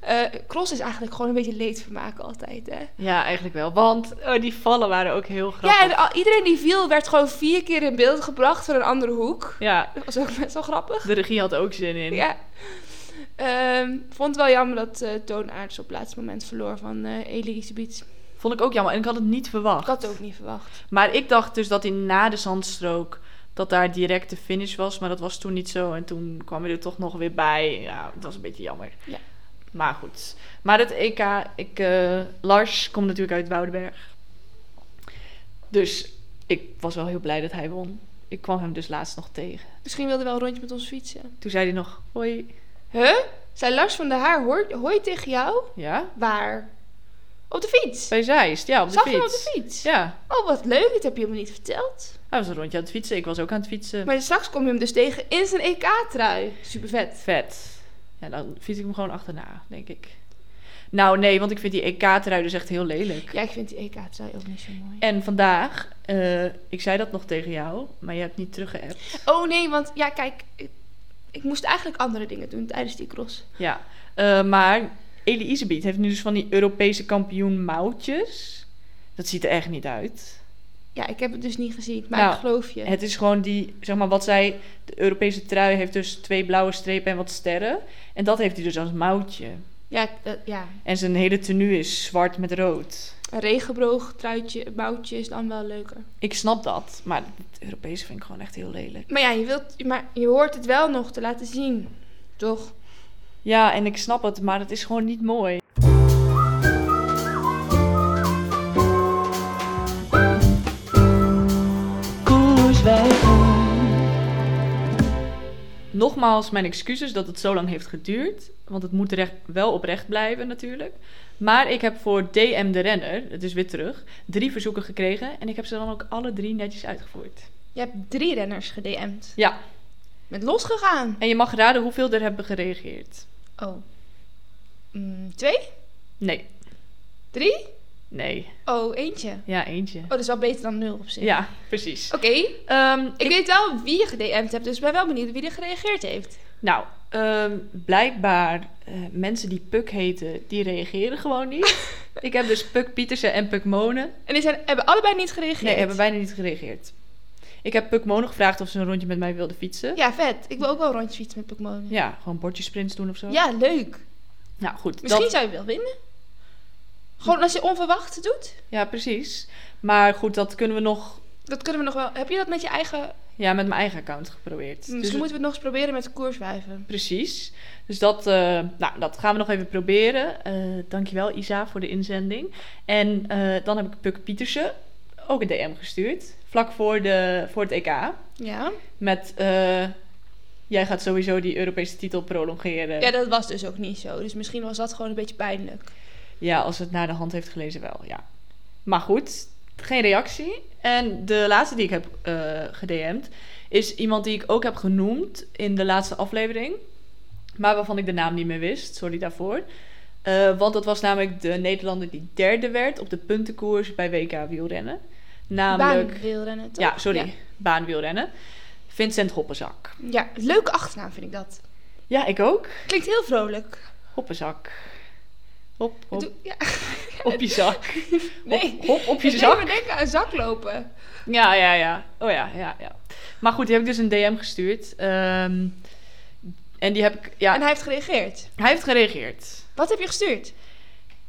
A: Eh, cross is eigenlijk gewoon een beetje leedvermaken altijd, hè?
B: Ja, eigenlijk wel. Want oh, die vallen waren ook heel
A: Ja,
B: grappig.
A: en al- iedereen die viel werd gewoon vier keer in beeld gebracht van een andere hoek.
B: Ja,
A: Dat was ook best wel grappig.
B: de regie had ook zin in.
A: Ja. Ehm, vond het wel jammer dat eh Toon Aarts op het laatste moment verloor van eh Elise Beats.
B: Vond ik ook jammer. En ik had het niet
A: Ik
B: verwacht.
A: had het ook niet verwacht.
B: Maar ik dacht dus dat in na de zandstrook... dat daar direct de finish was. Maar dat was toen niet zo. En toen kwam je er toch nog weer bij. Ja, dat was een beetje jammer.
A: Ja.
B: Maar goed. Maar het EK... Ik, eh, Lars komt natuurlijk uit Woudenberg. Dus ik was wel heel blij dat hij won. Ik kwam hem dus laatst nog tegen.
A: Misschien wilde hij wel een rondje met ons fietsen.
B: Toen zei hij nog... Hoi.
A: Huh? Zei Lars van der Haar, hoor, hoi tegen jou?
B: Ja?
A: Waar? Op de fiets.
B: Bij Zeist. Ja, op de
A: Zag je
B: fiets.
A: hem op de fiets?
B: Ja.
A: Oh, wat leuk. Dat heb je helemaal niet verteld.
B: Hij was een rondje aan het fietsen. Ik was ook aan het fietsen.
A: Maar straks kom je hem dus tegen in zijn EK-trui. Super vet.
B: Vet. Ja, dan fiets ik hem gewoon achterna, denk ik. Nou, nee, want ik vind die EK-trui dus echt heel lelijk.
A: Ja, ik vind die EK-trui ook niet zo mooi.
B: En vandaag, eh, ik zei dat nog tegen jou, maar je hebt niet teruggeappt.
A: Oh nee, want ja, kijk. Ik, ik moest eigenlijk andere dingen doen tijdens die cross.
B: Ja, eh, maar Elie Isebiet heeft nu dus van die Europese kampioen mouwtjes. Dat ziet er echt niet uit.
A: Ja, ik heb het dus niet gezien, maar
B: Nou,
A: ik geloof je.
B: Het is gewoon die, zeg maar, wat zij... De Europese trui heeft dus twee blauwe strepen en wat sterren. En dat heeft hij dus als mouwtje.
A: Ja, dat- ja,
B: En zijn hele tenue is zwart met rood.
A: een regenbroog truitje, boutje is dan wel leuker.
B: Ik snap dat, maar het Europese vind ik gewoon echt heel lelijk.
A: Maar ja, je, wilt, maar je hoort het wel nog te laten zien, toch?
B: Ja, en ik snap het, maar het is gewoon niet mooi. Nogmaals, mijn excuses dat het zo lang heeft geduurd. Want het moet recht, wel oprecht blijven natuurlijk. Maar ik heb voor DM de Renner, het is weer terug, drie verzoeken gekregen. En ik heb ze dan ook alle drie netjes uitgevoerd.
A: Je hebt drie renners gedm'd.
B: Ja,
A: Bent losgegaan.
B: en je mag raden hoeveel er hebben gereageerd.
A: Oh. Mm, twee?
B: Nee,
A: Drie?
B: nee.
A: Oh, eentje.
B: Ja, eentje.
A: Oh, dat is wel beter dan nul op zich.
B: Ja, precies.
A: Oké,
B: Ehm,
A: ik weet wel wie je gedm'd hebt, dus ik ben wel benieuwd wie er gereageerd heeft.
B: Nou, ehm, blijkbaar eh, mensen die Puk heten, die reageren gewoon niet. ik heb dus Puk Pietersen en Puk Monen.
A: En die zijn, hebben allebei niet gereageerd.
B: Nee, hebben bijna niet gereageerd. Ik heb Puk Monen gevraagd of ze een rondje met mij wilde fietsen.
A: Ja, vet. Ik wil ook wel een rondje fietsen met Pokémon.
B: Ja, gewoon bordjesprints doen of zo.
A: Ja, leuk.
B: Nou goed,
A: Misschien
B: dat,
A: zou je wel winnen. Gewoon als je onverwacht doet.
B: ja precies. Maar goed, dat kunnen we nog
A: Dat kunnen we nog wel. Heb je dat met je eigen.
B: ja, met mijn eigen account geprobeerd.
A: Misschien
B: Dus-
A: moeten we het nog eens proberen met de koerswijven.
B: Precies. Dus dat, eh, nou, dat gaan we nog even proberen. Eh, dankjewel Isa voor de inzending. En eh, dan heb ik Puk Pietersen ook een DM gestuurd. Vlak voor, de, voor het EK.
A: Ja.
B: Met eh, jij gaat sowieso die Europese titel prolongeren.
A: Ja, dat was dus ook niet zo. Dus misschien was dat gewoon een beetje pijnlijk.
B: Ja, als het naar de hand heeft gelezen wel, ja. Maar goed, geen reactie. En de laatste die ik heb eh gedM'd is iemand die ik ook heb genoemd in de laatste aflevering. Maar waarvan ik de naam niet meer wist, sorry daarvoor. Eh, want dat was namelijk de Nederlander die derde werd op de puntenkoers bij WK wielrennen. Namelijk,
A: Baan wil rennen, toch?
B: ja, sorry,
A: Ja.
B: baanwielrennen. Vincent Hoppenzak.
A: Ja, leuke achternaam vind ik dat.
B: Ja, ik ook.
A: Klinkt heel vrolijk.
B: Hoppenzak. Hop, hop,
A: Doe- ja.
B: op je zak.
A: Nee.
B: Hop, hop op je
A: Ik
B: zak.
A: zou me denken aan zaklopen.
B: Ja, ja, ja. Oh ja, ja, ja. Maar goed, die heb ik dus een DM gestuurd. Ehm, en die heb ik... Ja,
A: En hij heeft gereageerd.
B: hij heeft gereageerd.
A: Wat heb je gestuurd?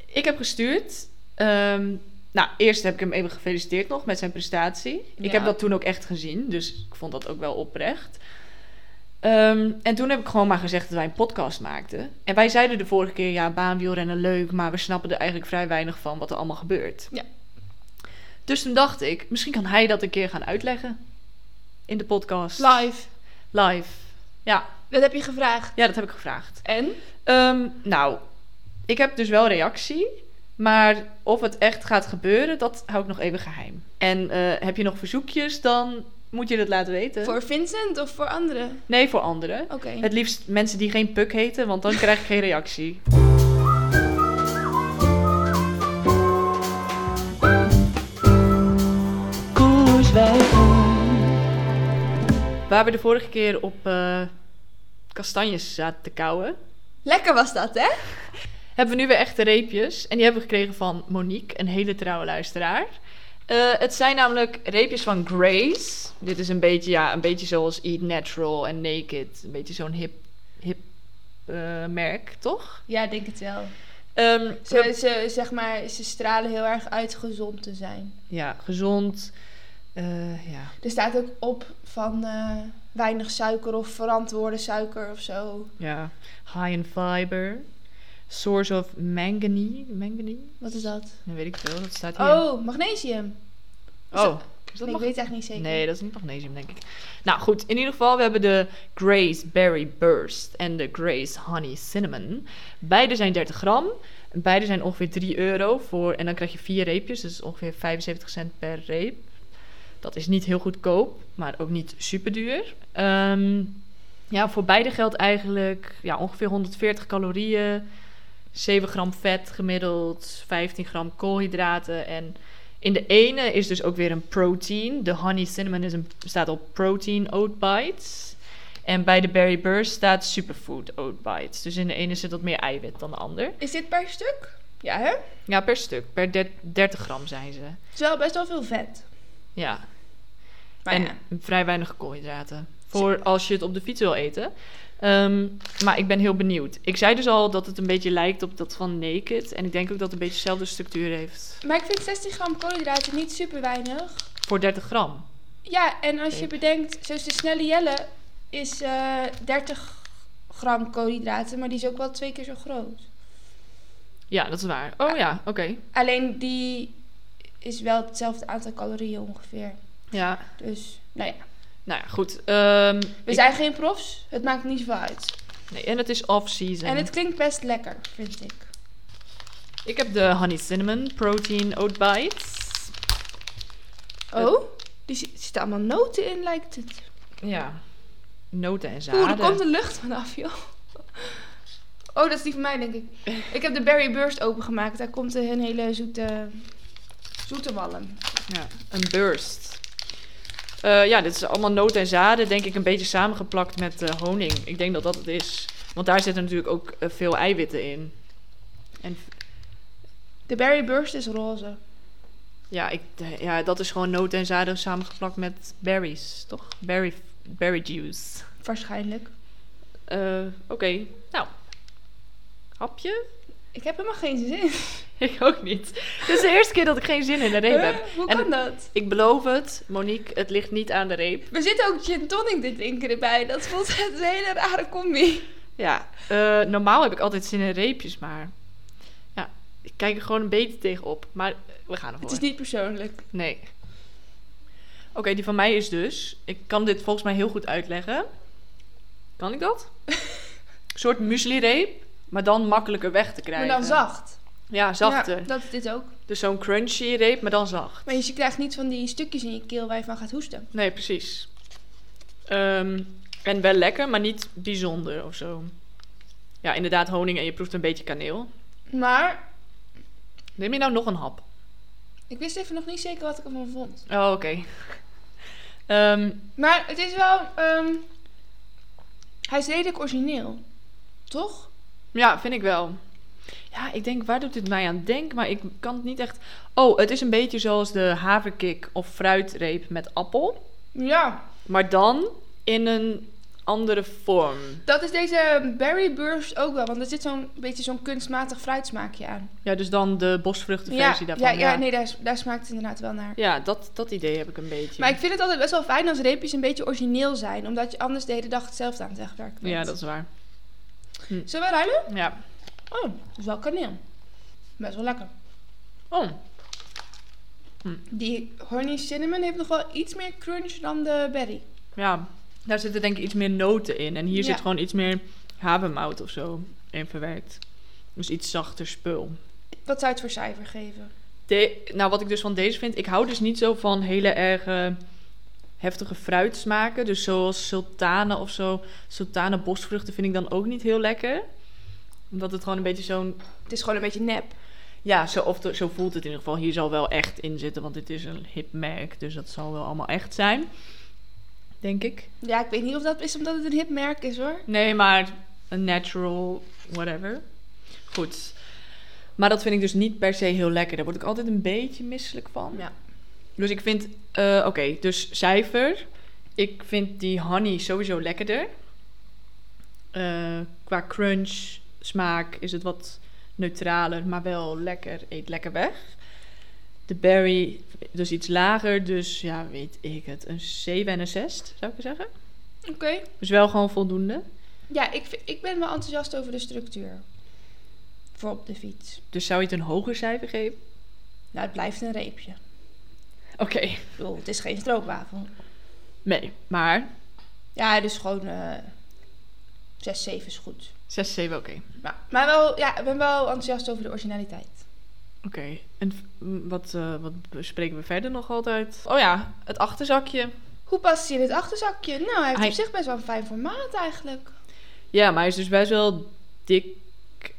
B: Ik heb gestuurd... ehm, nou, eerst heb ik hem even gefeliciteerd nog met zijn prestatie.
A: Ja.
B: Ik heb dat toen ook echt gezien, dus ik vond dat ook wel oprecht. Ehm, en toen heb ik gewoon maar gezegd dat wij een podcast maakten. En wij zeiden de vorige keer, ja, baanwielrennen leuk, maar we snappen er eigenlijk vrij weinig van wat er allemaal gebeurt.
A: Ja.
B: Dus toen dacht ik, misschien kan hij dat een keer gaan uitleggen in de podcast.
A: Live.
B: Live. Ja,
A: Dat heb je gevraagd.
B: ja dat heb ik gevraagd.
A: En?
B: Ehm, nou, ik heb dus wel reactie. Maar of het echt gaat gebeuren, dat hou ik nog even geheim. En eh, heb je nog verzoekjes, dan moet je dat laten weten.
A: Voor Vincent of voor anderen?
B: Nee, voor anderen.
A: Oké.
B: Het liefst mensen die geen puk heten, want dan krijg ik geen reactie. Waar we de vorige keer op eh, kastanjes zaten te kauwen,
A: Lekker was dat, hè?
B: hebben we nu weer echte reepjes. En die hebben we gekregen van Monique, een hele trouwe luisteraar. Eh, het zijn namelijk reepjes van Grace. Dit is een beetje, ja, een beetje zoals Eat Natural en Naked. Een beetje zo'n hip, hip eh, merk, toch?
A: Ja, ik denk het wel.
B: Ehm,
A: Ze, ze, zeg maar, ze stralen heel erg uit gezond te zijn.
B: Ja, gezond. Eh, ja.
A: Er staat ook op van eh, weinig suiker of verantwoorde suiker of zo.
B: ja, high in fiber. Source of manganese. Manganese?
A: Wat is dat?
B: Dat weet ik veel, dat staat hier.
A: Oh, magnesium.
B: Oh,
A: Nee,
B: is dat
A: ik
B: mag...
A: weet het echt niet zeker.
B: Nee, dat is niet magnesium, denk ik. Nou goed, in ieder geval, we hebben de Grace Berry Burst en de Grace Honey Cinnamon. Beide zijn 30 gram. Beide zijn ongeveer 3 euro voor. En dan krijg je vier reepjes, dus ongeveer 75 cent per reep. Dat is niet heel goedkoop, maar ook niet super duur. ja, voor beide geldt eigenlijk ja, ongeveer 140 calorieën. 7 gram vet gemiddeld, 15 gram koolhydraten. En in de ene is dus ook weer een protein. De honey cinnamon is een, staat op protein oat bites. En bij de Berry Burst staat superfood oat bites. Dus in de ene zit wat meer eiwit dan de ander.
A: Is dit per stuk? Ja, hè? Het
B: Ja, per stuk. Per der- 30 gram zijn ze.
A: is wel best wel veel vet.
B: Ja.
A: Maar
B: en
A: ja.
B: vrij weinig koolhydraten. Voor als je het op de fiets wil eten. Ehm, maar ik ben heel benieuwd. Ik zei dus al dat het een beetje lijkt op dat van Naked. En ik denk ook dat het een beetje dezelfde structuur heeft.
A: Maar ik vind 16 gram koolhydraten niet super weinig.
B: Voor 30 gram.
A: Ja, en als je
B: Zeker.
A: bedenkt, zoals de snelle Jelle is eh 30 gram koolhydraten, maar die is ook wel twee keer zo groot.
B: Ja, dat is waar. Oh ja, oké.
A: Alleen die is wel hetzelfde aantal calorieën ongeveer.
B: Ja.
A: Dus, nou ja.
B: Nou ja, goed. Ehm,
A: We
B: ik-
A: zijn geen profs, het maakt niet zoveel uit.
B: nee, en het is off-season.
A: En het klinkt best lekker, vind ik.
B: Ik heb de Honey Cinnamon Protein Oat Bites.
A: Oh, die zi- zitten allemaal noten in, lijkt het.
B: Ja. Noten en zaden.
A: Oeh, er komt de lucht vanaf, joh. Oh, dat is die van mij, denk ik. Ik heb de Berry Burst opengemaakt. Daar komt een hele zoete, zoete walm.
B: Ja, een burst. Eh, ja, dit is allemaal noten en zaden, denk ik, een beetje samengeplakt met eh, honing. Ik denk dat dat het is. Want daar zitten natuurlijk ook eh, veel eiwitten in. En
A: De Berry Burst is roze.
B: ja, ik, eh, ja, dat is gewoon noten en zaden samengeplakt met berries, toch? Berry, berry juice.
A: Waarschijnlijk.
B: Eh, Oké, nou. Hapje?
A: Ik heb helemaal geen zin.
B: Ik ook niet. Dit is de eerste keer dat ik geen zin in een reep heb.
A: Huh? Hoe
B: En-
A: kan dat?
B: Ik beloof het, Monique, het ligt niet aan de reep.
A: We zitten ook gin tonic te drinken erbij. Dat voelt echt een hele rare combi.
B: Ja, eh, normaal heb ik altijd zin in reepjes, maar ja, ik kijk er gewoon een beetje tegenop. Maar eh, we gaan ervoor.
A: Het is niet persoonlijk.
B: Nee. Oké, die van mij is dus. Ik kan dit volgens mij heel goed uitleggen. Kan ik dat? een soort muesli-reep, maar dan makkelijker weg te
A: Maar
B: krijgen.
A: dan zacht.
B: Ja, zachter.
A: Ja, dat is dit ook.
B: Dus zo'n crunchy reep, maar dan zacht.
A: Maar je krijgt niet van die stukjes in je keel waar je van gaat hoesten.
B: Nee, precies. Ehm, en wel lekker, maar niet bijzonder of zo. Ja, inderdaad, honing en je proeft een beetje kaneel.
A: Maar
B: Neem je nou nog een hap?
A: ik wist even nog niet zeker wat ik ervan vond.
B: Oh, oké. Ehm,
A: Maar het is wel... ehm, hij is redelijk origineel. Toch?
B: ja, vind ik wel. Ja, ik denk, waar doet dit mij aan denken? Maar ik kan het niet echt... Oh, het is een beetje zoals de haverkik of fruitreep met appel.
A: Ja.
B: Maar dan in een andere vorm.
A: Dat is deze Berry Burst ook wel. Want er zit zo'n beetje zo'n kunstmatig fruitsmaakje aan.
B: Ja, dus dan de bosvruchtenversie
A: ja,
B: daarvan.
A: ja, ja, nee, daar, daar smaakt het inderdaad wel naar.
B: Ja, dat, dat idee heb ik een beetje.
A: Maar ik vind het altijd best wel fijn als reepjes een beetje origineel zijn. Omdat je anders de hele dag hetzelfde aan het wegwerken bent.
B: Ja, dat is waar.
A: Zullen we ruilen?
B: Ja.
A: Oh, dat is wel kaneel. Best wel lekker.
B: Oh,
A: Die honey cinnamon heeft nog wel iets meer crunch dan de berry.
B: ja. Daar zitten denk ik iets meer noten in. En hier
A: Ja.
B: zit gewoon iets meer havermout of zo in verwerkt. Dus iets zachter spul.
A: Wat zou je het voor cijfer geven?
B: De- nou, wat ik dus van deze vind, ik hou dus niet zo van hele erg eh, heftige fruitsmaken. Dus zoals sultanen of zo. Sultanen bosvruchten vind ik dan ook niet heel lekker. Omdat het gewoon een beetje zo'n.
A: Het is gewoon een beetje nep.
B: Ja, zo, of de- zo voelt het in ieder geval. Hier zal wel echt in zitten, want dit is een hip merk. Dus dat zal wel allemaal echt zijn. Denk ik.
A: Ja, ik weet niet of dat is omdat het een hip merk is hoor.
B: Nee, maar een natural, whatever. Goed. Maar dat vind ik dus niet per se heel lekker. Daar word ik altijd een beetje misselijk van.
A: Ja.
B: Dus ik vind, eh, oké, dus cijfer. Ik vind die honey sowieso lekkerder. Eh, qua crunch, smaak is het wat neutraler, maar wel lekker. Eet lekker weg. De berry, dus iets lager. Dus ja, weet ik het. Een 7 en een 6, zou ik zeggen.
A: Oké.
B: Dus wel gewoon voldoende.
A: Ja, ik, vind- ik ben wel enthousiast over de structuur. Voor op de fiets.
B: Dus zou je het een hoger cijfer geven?
A: Nou, het blijft een reepje.
B: Oké.
A: Ik bedoel, het is geen stroopwafel.
B: Nee, maar
A: Ja, dus gewoon eh 6, 7 is goed.
B: 6, 7, oké.
A: Maar, maar wel, ja, ik ben wel enthousiast over de originaliteit.
B: Oké, en v- m, wat, eh, wat bespreken we verder nog altijd? Oh ja, het achterzakje.
A: Hoe past hij in het achterzakje? Nou, hij heeft
B: Hij-
A: op zich best wel een fijn formaat eigenlijk.
B: Ja, maar hij is dus best wel dik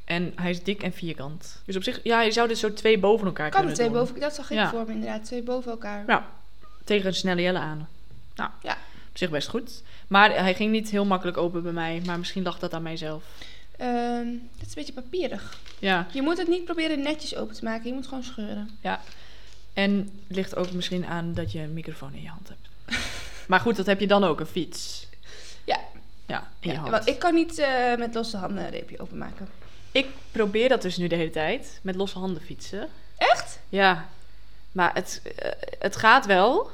B: en hij is dik en vierkant. Dus op zich, ja, je zou dit zo twee boven elkaar
A: Kan er
B: kunnen
A: twee
B: doen.
A: boven, dat zag ik
B: Ja.
A: voor me inderdaad, twee boven elkaar.
B: Ja, tegen een snelle jelle aan. Nou,
A: Ja.
B: op zich best goed. Maar hij ging niet heel makkelijk open bij mij. Maar misschien lag dat aan mijzelf.
A: Ehm, dat is een beetje papierig.
B: Ja.
A: Je moet het niet proberen netjes open te maken. Je moet gewoon scheuren.
B: En het ligt ook misschien aan dat je een microfoon in je hand hebt. maar goed, dat heb je dan ook, een fiets.
A: Ja.
B: Ja, in je
A: Ja,
B: hand.
A: want ik kan niet eh, met losse handen een reepje openmaken.
B: Ik probeer dat dus nu de hele tijd. Met losse handen fietsen.
A: Echt?
B: Ja. Maar het, eh, het gaat wel.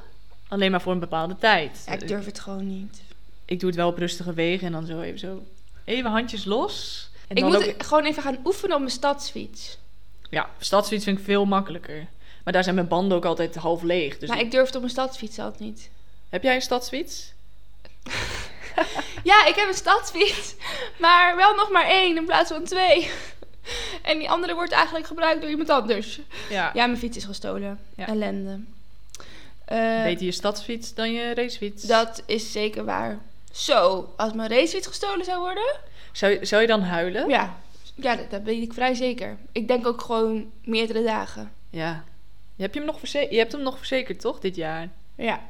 B: Alleen maar voor een bepaalde tijd.
A: Ja, ik durf het gewoon niet.
B: Ik doe het wel op rustige wegen. En dan zo even zo. Even handjes los. En
A: ik
B: dan
A: moet
B: ook-
A: gewoon even gaan oefenen op mijn stadsfiets.
B: Ja, stadsfiets vind ik veel makkelijker. Maar daar zijn mijn banden ook altijd half leeg. Dus
A: maar ik durf het op mijn stadsfiets altijd niet.
B: Heb jij een stadsfiets?
A: Ja, ik heb een stadsfiets. Maar wel nog maar één in plaats van twee. En die andere wordt eigenlijk gebruikt door iemand anders.
B: Ja.
A: Ja, mijn fiets is gestolen.
B: Ja.
A: Ellende. Eh,
B: Beter je stadsfiets dan je racefiets.
A: dat is zeker waar. Zo, als mijn racefiets gestolen zou worden.
B: Zou, je- zou je dan huilen?
A: Ja, ja dat, dat weet ik vrij zeker. Ik denk ook gewoon meerdere dagen.
B: Ja. Heb je, hem nog verze- je hebt hem nog verzekerd, toch, dit jaar?
A: Ja,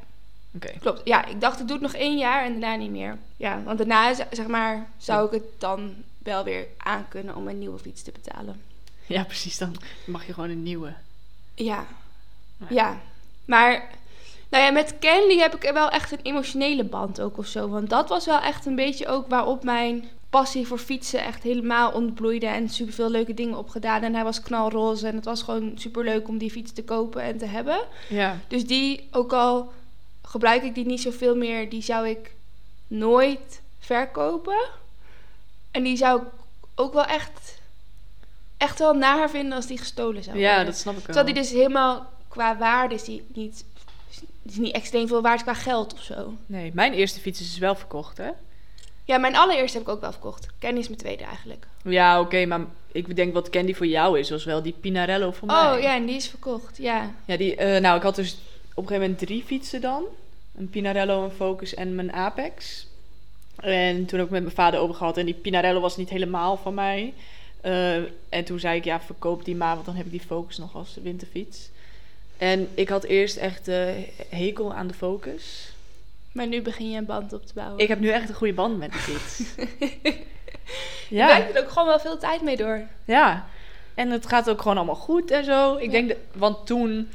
B: Oké.
A: klopt. Ja, ik dacht het doet nog één jaar en daarna niet meer. Ja, want daarna z- zeg maar, zou ik het dan wel weer aankunnen om een nieuwe fiets te betalen.
B: Ja, precies. Dan mag je gewoon een nieuwe.
A: Ja.
B: Ja.
A: Ja. Maar nou ja, met Candy heb ik er wel echt een emotionele band ook of zo. Want dat was wel echt een beetje ook waarop mijn passie voor fietsen echt helemaal ontbloeide. En superveel leuke dingen opgedaan. En hij was knalroze en het was gewoon superleuk om die fiets te kopen en te hebben.
B: Ja.
A: Dus die, ook al gebruik ik die niet zoveel meer, die zou ik nooit verkopen. En die zou ik ook wel echt, echt wel naar vinden als die gestolen zou worden.
B: Ja, dat snap ik wel.
A: Terwijl die dus helemaal qua waarde is die niet, is niet extreem veel waard qua geld of zo.
B: Nee, mijn eerste fiets is dus wel verkocht, hè?
A: Ja, mijn allereerste heb ik ook wel verkocht. Kenny is mijn tweede eigenlijk.
B: Ja, oké, maar ik denk wat Candy voor jou is, was wel die Pinarello voor mij.
A: Oh ja, en die is verkocht. Ja.
B: Ja, die, eh, nou, ik had dus op een gegeven moment drie fietsen dan. Een Pinarello, een Focus en mijn Apex. En toen heb ik met mijn vader over gehad. En die Pinarello was niet helemaal van mij. Eh, en toen zei ik, ja, verkoop die maar, want dan heb ik die Focus nog als winterfiets. En ik had eerst echt eh, hekel aan de Focus.
A: Maar nu begin je een band op te bouwen.
B: Ik heb nu echt een goede band met die fiets.
A: ja.
B: ja,
A: er ook gewoon wel veel tijd mee door.
B: ja. En het gaat ook gewoon allemaal goed en zo. Ik
A: Ja.
B: denk, dat- want toen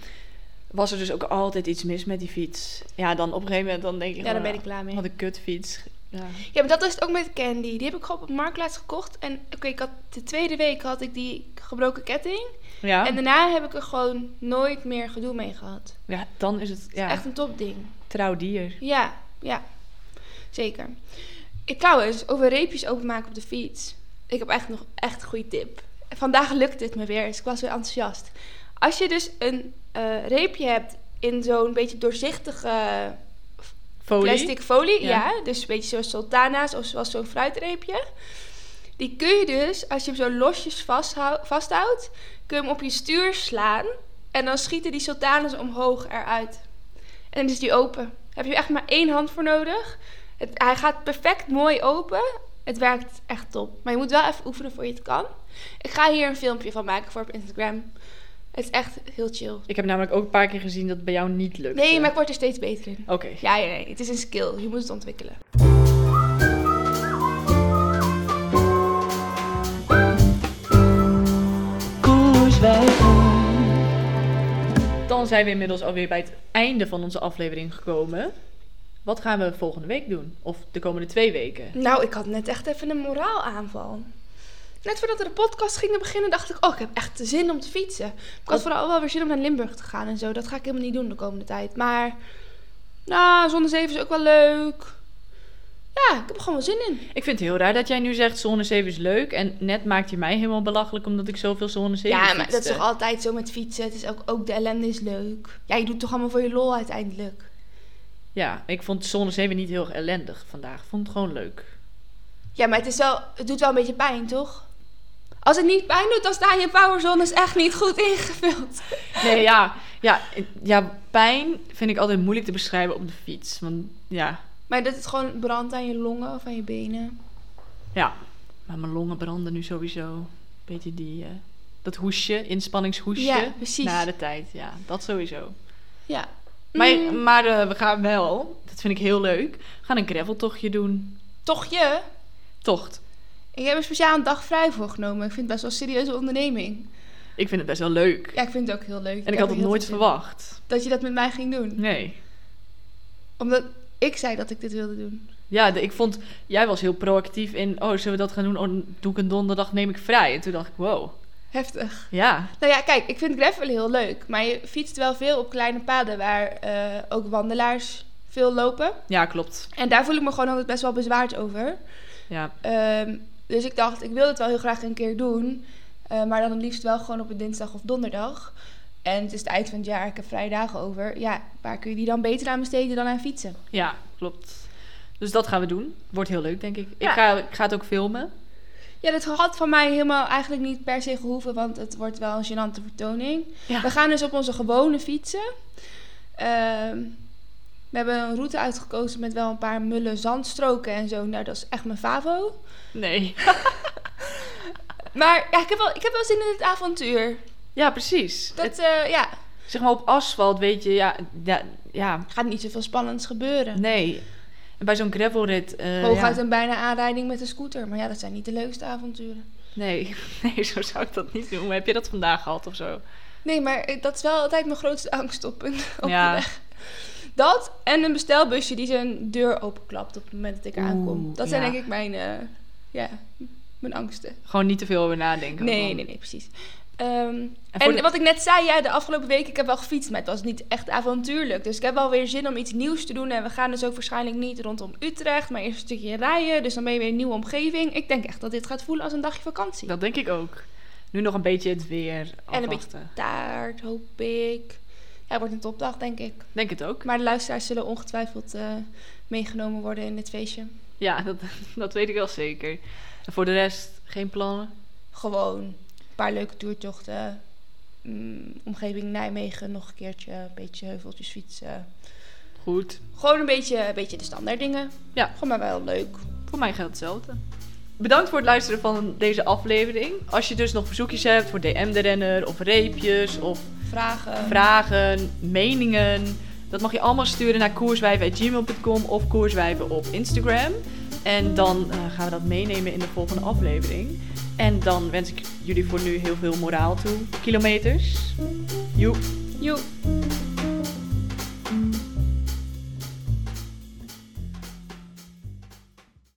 B: was er dus ook altijd iets mis met die fiets. Ja, dan op een gegeven moment dan denk je
A: Ja, daar
B: gewoon, "Ah,
A: ben ik klaar mee.
B: Wat een kutfiets. Ja.
A: Ja, maar dat is het ook met Candy. Die heb ik gewoon op Marktplaats gekocht. En oké, ik had de tweede week had ik die gebroken ketting.
B: Ja.
A: En daarna heb ik er gewoon nooit meer gedoe mee gehad.
B: ja, dan is het ja,
A: Echt een topding.
B: trouw dier.
A: Ja, ja. Zeker. Ik, trouwens, over reepjes openmaken op de fiets. Ik heb echt nog echt een goede tip. Vandaag lukte het me weer, dus ik was weer enthousiast. Als je dus een eh, reepje hebt in zo'n beetje doorzichtige
B: Folie.
A: plastic folie,
B: Ja.
A: ja. Dus een beetje zoals sultana's of zoals zo'n fruitreepje. Die kun je dus, als je hem zo losjes vasthou- vasthoudt, kun je hem op je stuur slaan. En dan schieten die sultana's omhoog eruit. En dan is die open. Heb je echt maar één hand voor nodig. Het, hij gaat perfect mooi open. Het werkt echt top. Maar je moet wel even oefenen voor je het kan. Ik ga hier een filmpje van maken voor op Instagram. Het is echt heel chill.
B: Ik heb namelijk ook een paar keer gezien dat het bij jou niet lukt.
A: Nee, maar ik word er steeds beter in.
B: Oké.
A: Ja, ja, nee. Het is een skill. Je moet het ontwikkelen.
B: Dan zijn we inmiddels alweer bij het einde van onze aflevering gekomen. Wat gaan we volgende week doen? Of de komende twee weken?
A: Nou, ik had net echt even een moraalaanval. Net voordat we de podcast gingen beginnen, dacht ik... Oh, ik heb echt zin om te fietsen. Ik had
B: Wat-
A: vooral wel weer zin om naar Limburg te gaan en zo. Dat ga ik helemaal niet doen de komende tijd. Maar, nou, zonnezeven is ook wel leuk. Ja, ik heb er gewoon wel zin in.
B: Ik vind het heel raar dat jij nu zegt zone 7 is leuk. En net maakt je mij helemaal belachelijk omdat ik zoveel zone 7
A: Ja, maar dat is toch altijd zo met fietsen. Het is ook, ook de ellende is leuk. Ja, je doet het toch allemaal voor je lol uiteindelijk.
B: Ja, ik vond zone 7 niet heel erg ellendig vandaag. Ik vond het gewoon leuk.
A: Ja, maar het, is wel, het doet wel een beetje pijn, toch? Als het niet pijn doet, dan staan je powerzones echt niet goed ingevuld.
B: Nee, ja, ja, ja, pijn vind ik altijd moeilijk te beschrijven op de fiets. Want ja,
A: Maar dat het gewoon brandt aan je longen of aan je benen.
B: ja. Maar mijn longen branden nu sowieso. Weet je, die, eh, dat hoesje, inspanningshoesje.
A: Ja, precies.
B: Na de tijd, ja. Dat sowieso.
A: Ja.
B: Maar,
A: Mm.
B: maar eh, we gaan wel, dat vind ik heel leuk, we gaan een graveltochtje doen.
A: Toch je?
B: Tocht.
A: Ik heb er speciaal een dag vrij voor genomen. Ik vind het best wel een serieuze onderneming.
B: Ik vind het best wel leuk.
A: Ja, ik vind het ook heel leuk.
B: en ik
A: heb
B: had
A: er
B: het
A: heel
B: nooit
A: veel zin
B: verwacht.
A: in. Dat je dat met mij ging doen.
B: Nee.
A: Omdat ik zei dat ik dit wilde doen.
B: Ja, de- ik vond, jij was heel proactief in, oh, zullen we dat gaan doen? Oh, doe ik een donderdag, neem ik vrij. En toen dacht ik, wow,
A: Heftig.
B: ja.
A: Nou ja, kijk, ik vind gravel heel leuk. Maar je fietst wel veel op kleine paden waar eh, ook wandelaars veel lopen.
B: Ja, klopt.
A: En daar voel ik me gewoon altijd best wel bezwaard over.
B: Ja,
A: Ehm, dus ik dacht, ik wil het wel heel graag een keer doen. eh, maar dan het liefst wel gewoon op een dinsdag of donderdag. En het is het eind van het jaar, ik heb vrije dagen over. Ja, waar kun je die dan beter aan besteden dan aan fietsen?
B: ja klopt. Dus dat gaan we doen. Wordt heel leuk, denk ik.
A: Ja.
B: Ik, ga, ik ga het ook filmen.
A: Ja, dat had van mij helemaal eigenlijk niet per se gehoeven, want het wordt wel een gênante vertoning.
B: Ja.
A: We gaan dus op onze gewone fietsen. Ehm, we hebben een route uitgekozen met wel een paar mullen zandstroken en zo. Nou, dat is echt mijn favo.
B: Nee.
A: Maar ja, ik heb wel, ik heb wel zin in het avontuur.
B: Ja, precies.
A: Dat,
B: Het-
A: eh, ja,
B: zeg maar op asfalt, weet je, ja, ja, ja
A: gaat niet zoveel spannends gebeuren.
B: nee. En bij zo'n gravelrit... eh
A: Hooguit
B: ja,
A: een bijna aanrijding met een scooter. Maar ja, dat zijn niet de leukste avonturen.
B: nee. nee, zo zou ik dat niet doen. Heb je dat vandaag gehad of zo?
A: Nee, maar eh, dat is wel altijd mijn grootste angst op, een, op de
B: ja,
A: weg. Dat en een bestelbusje die zijn deur openklapt op het moment dat ik
B: Oeh,
A: aankom. Dat zijn
B: ja.
A: denk ik mijn, eh, ja, mijn angsten.
B: gewoon niet te veel over nadenken.
A: Nee,
B: Want-
A: nee, nee, precies. Ehm,
B: En,
A: en
B: voor de-
A: wat ik net zei, ja, de afgelopen week, ik heb wel gefietst, maar het was niet echt avontuurlijk. Dus ik heb wel weer zin om iets nieuws te doen. En we gaan dus ook waarschijnlijk niet rondom Utrecht, maar eerst een stukje rijden. Dus dan ben je weer in een nieuwe omgeving. Ik denk echt dat dit gaat voelen als een dagje vakantie.
B: Dat denk ik ook. Nu nog een beetje het weer
A: En een
B: afwachten.
A: taart, hoop ik. Ja, het wordt een topdag, denk ik.
B: Denk het ook.
A: Maar de luisteraars zullen ongetwijfeld eh, meegenomen worden in dit feestje.
B: Ja, dat, dat weet ik wel zeker. En voor de rest, geen plannen?
A: Gewoon een paar leuke toertochten. mm, omgeving Nijmegen nog een keertje. Een beetje heuveltjes fietsen.
B: Goed.
A: Gewoon een beetje, een beetje de standaard dingen.
B: Ja.
A: Gewoon maar wel leuk.
B: Voor mij geldt hetzelfde. Bedankt voor het luisteren van deze aflevering. Als je dus nog verzoekjes hebt voor DM de Renner of reepjes of
A: Vragen.
B: vragen, meningen. Dat mag je allemaal sturen naar koerswijven.gmail.com of koerswijven op Instagram. En dan eh, gaan we dat meenemen in de volgende aflevering. En dan wens ik jullie voor nu heel veel moraal toe. Kilometers. Joep.
A: Joep.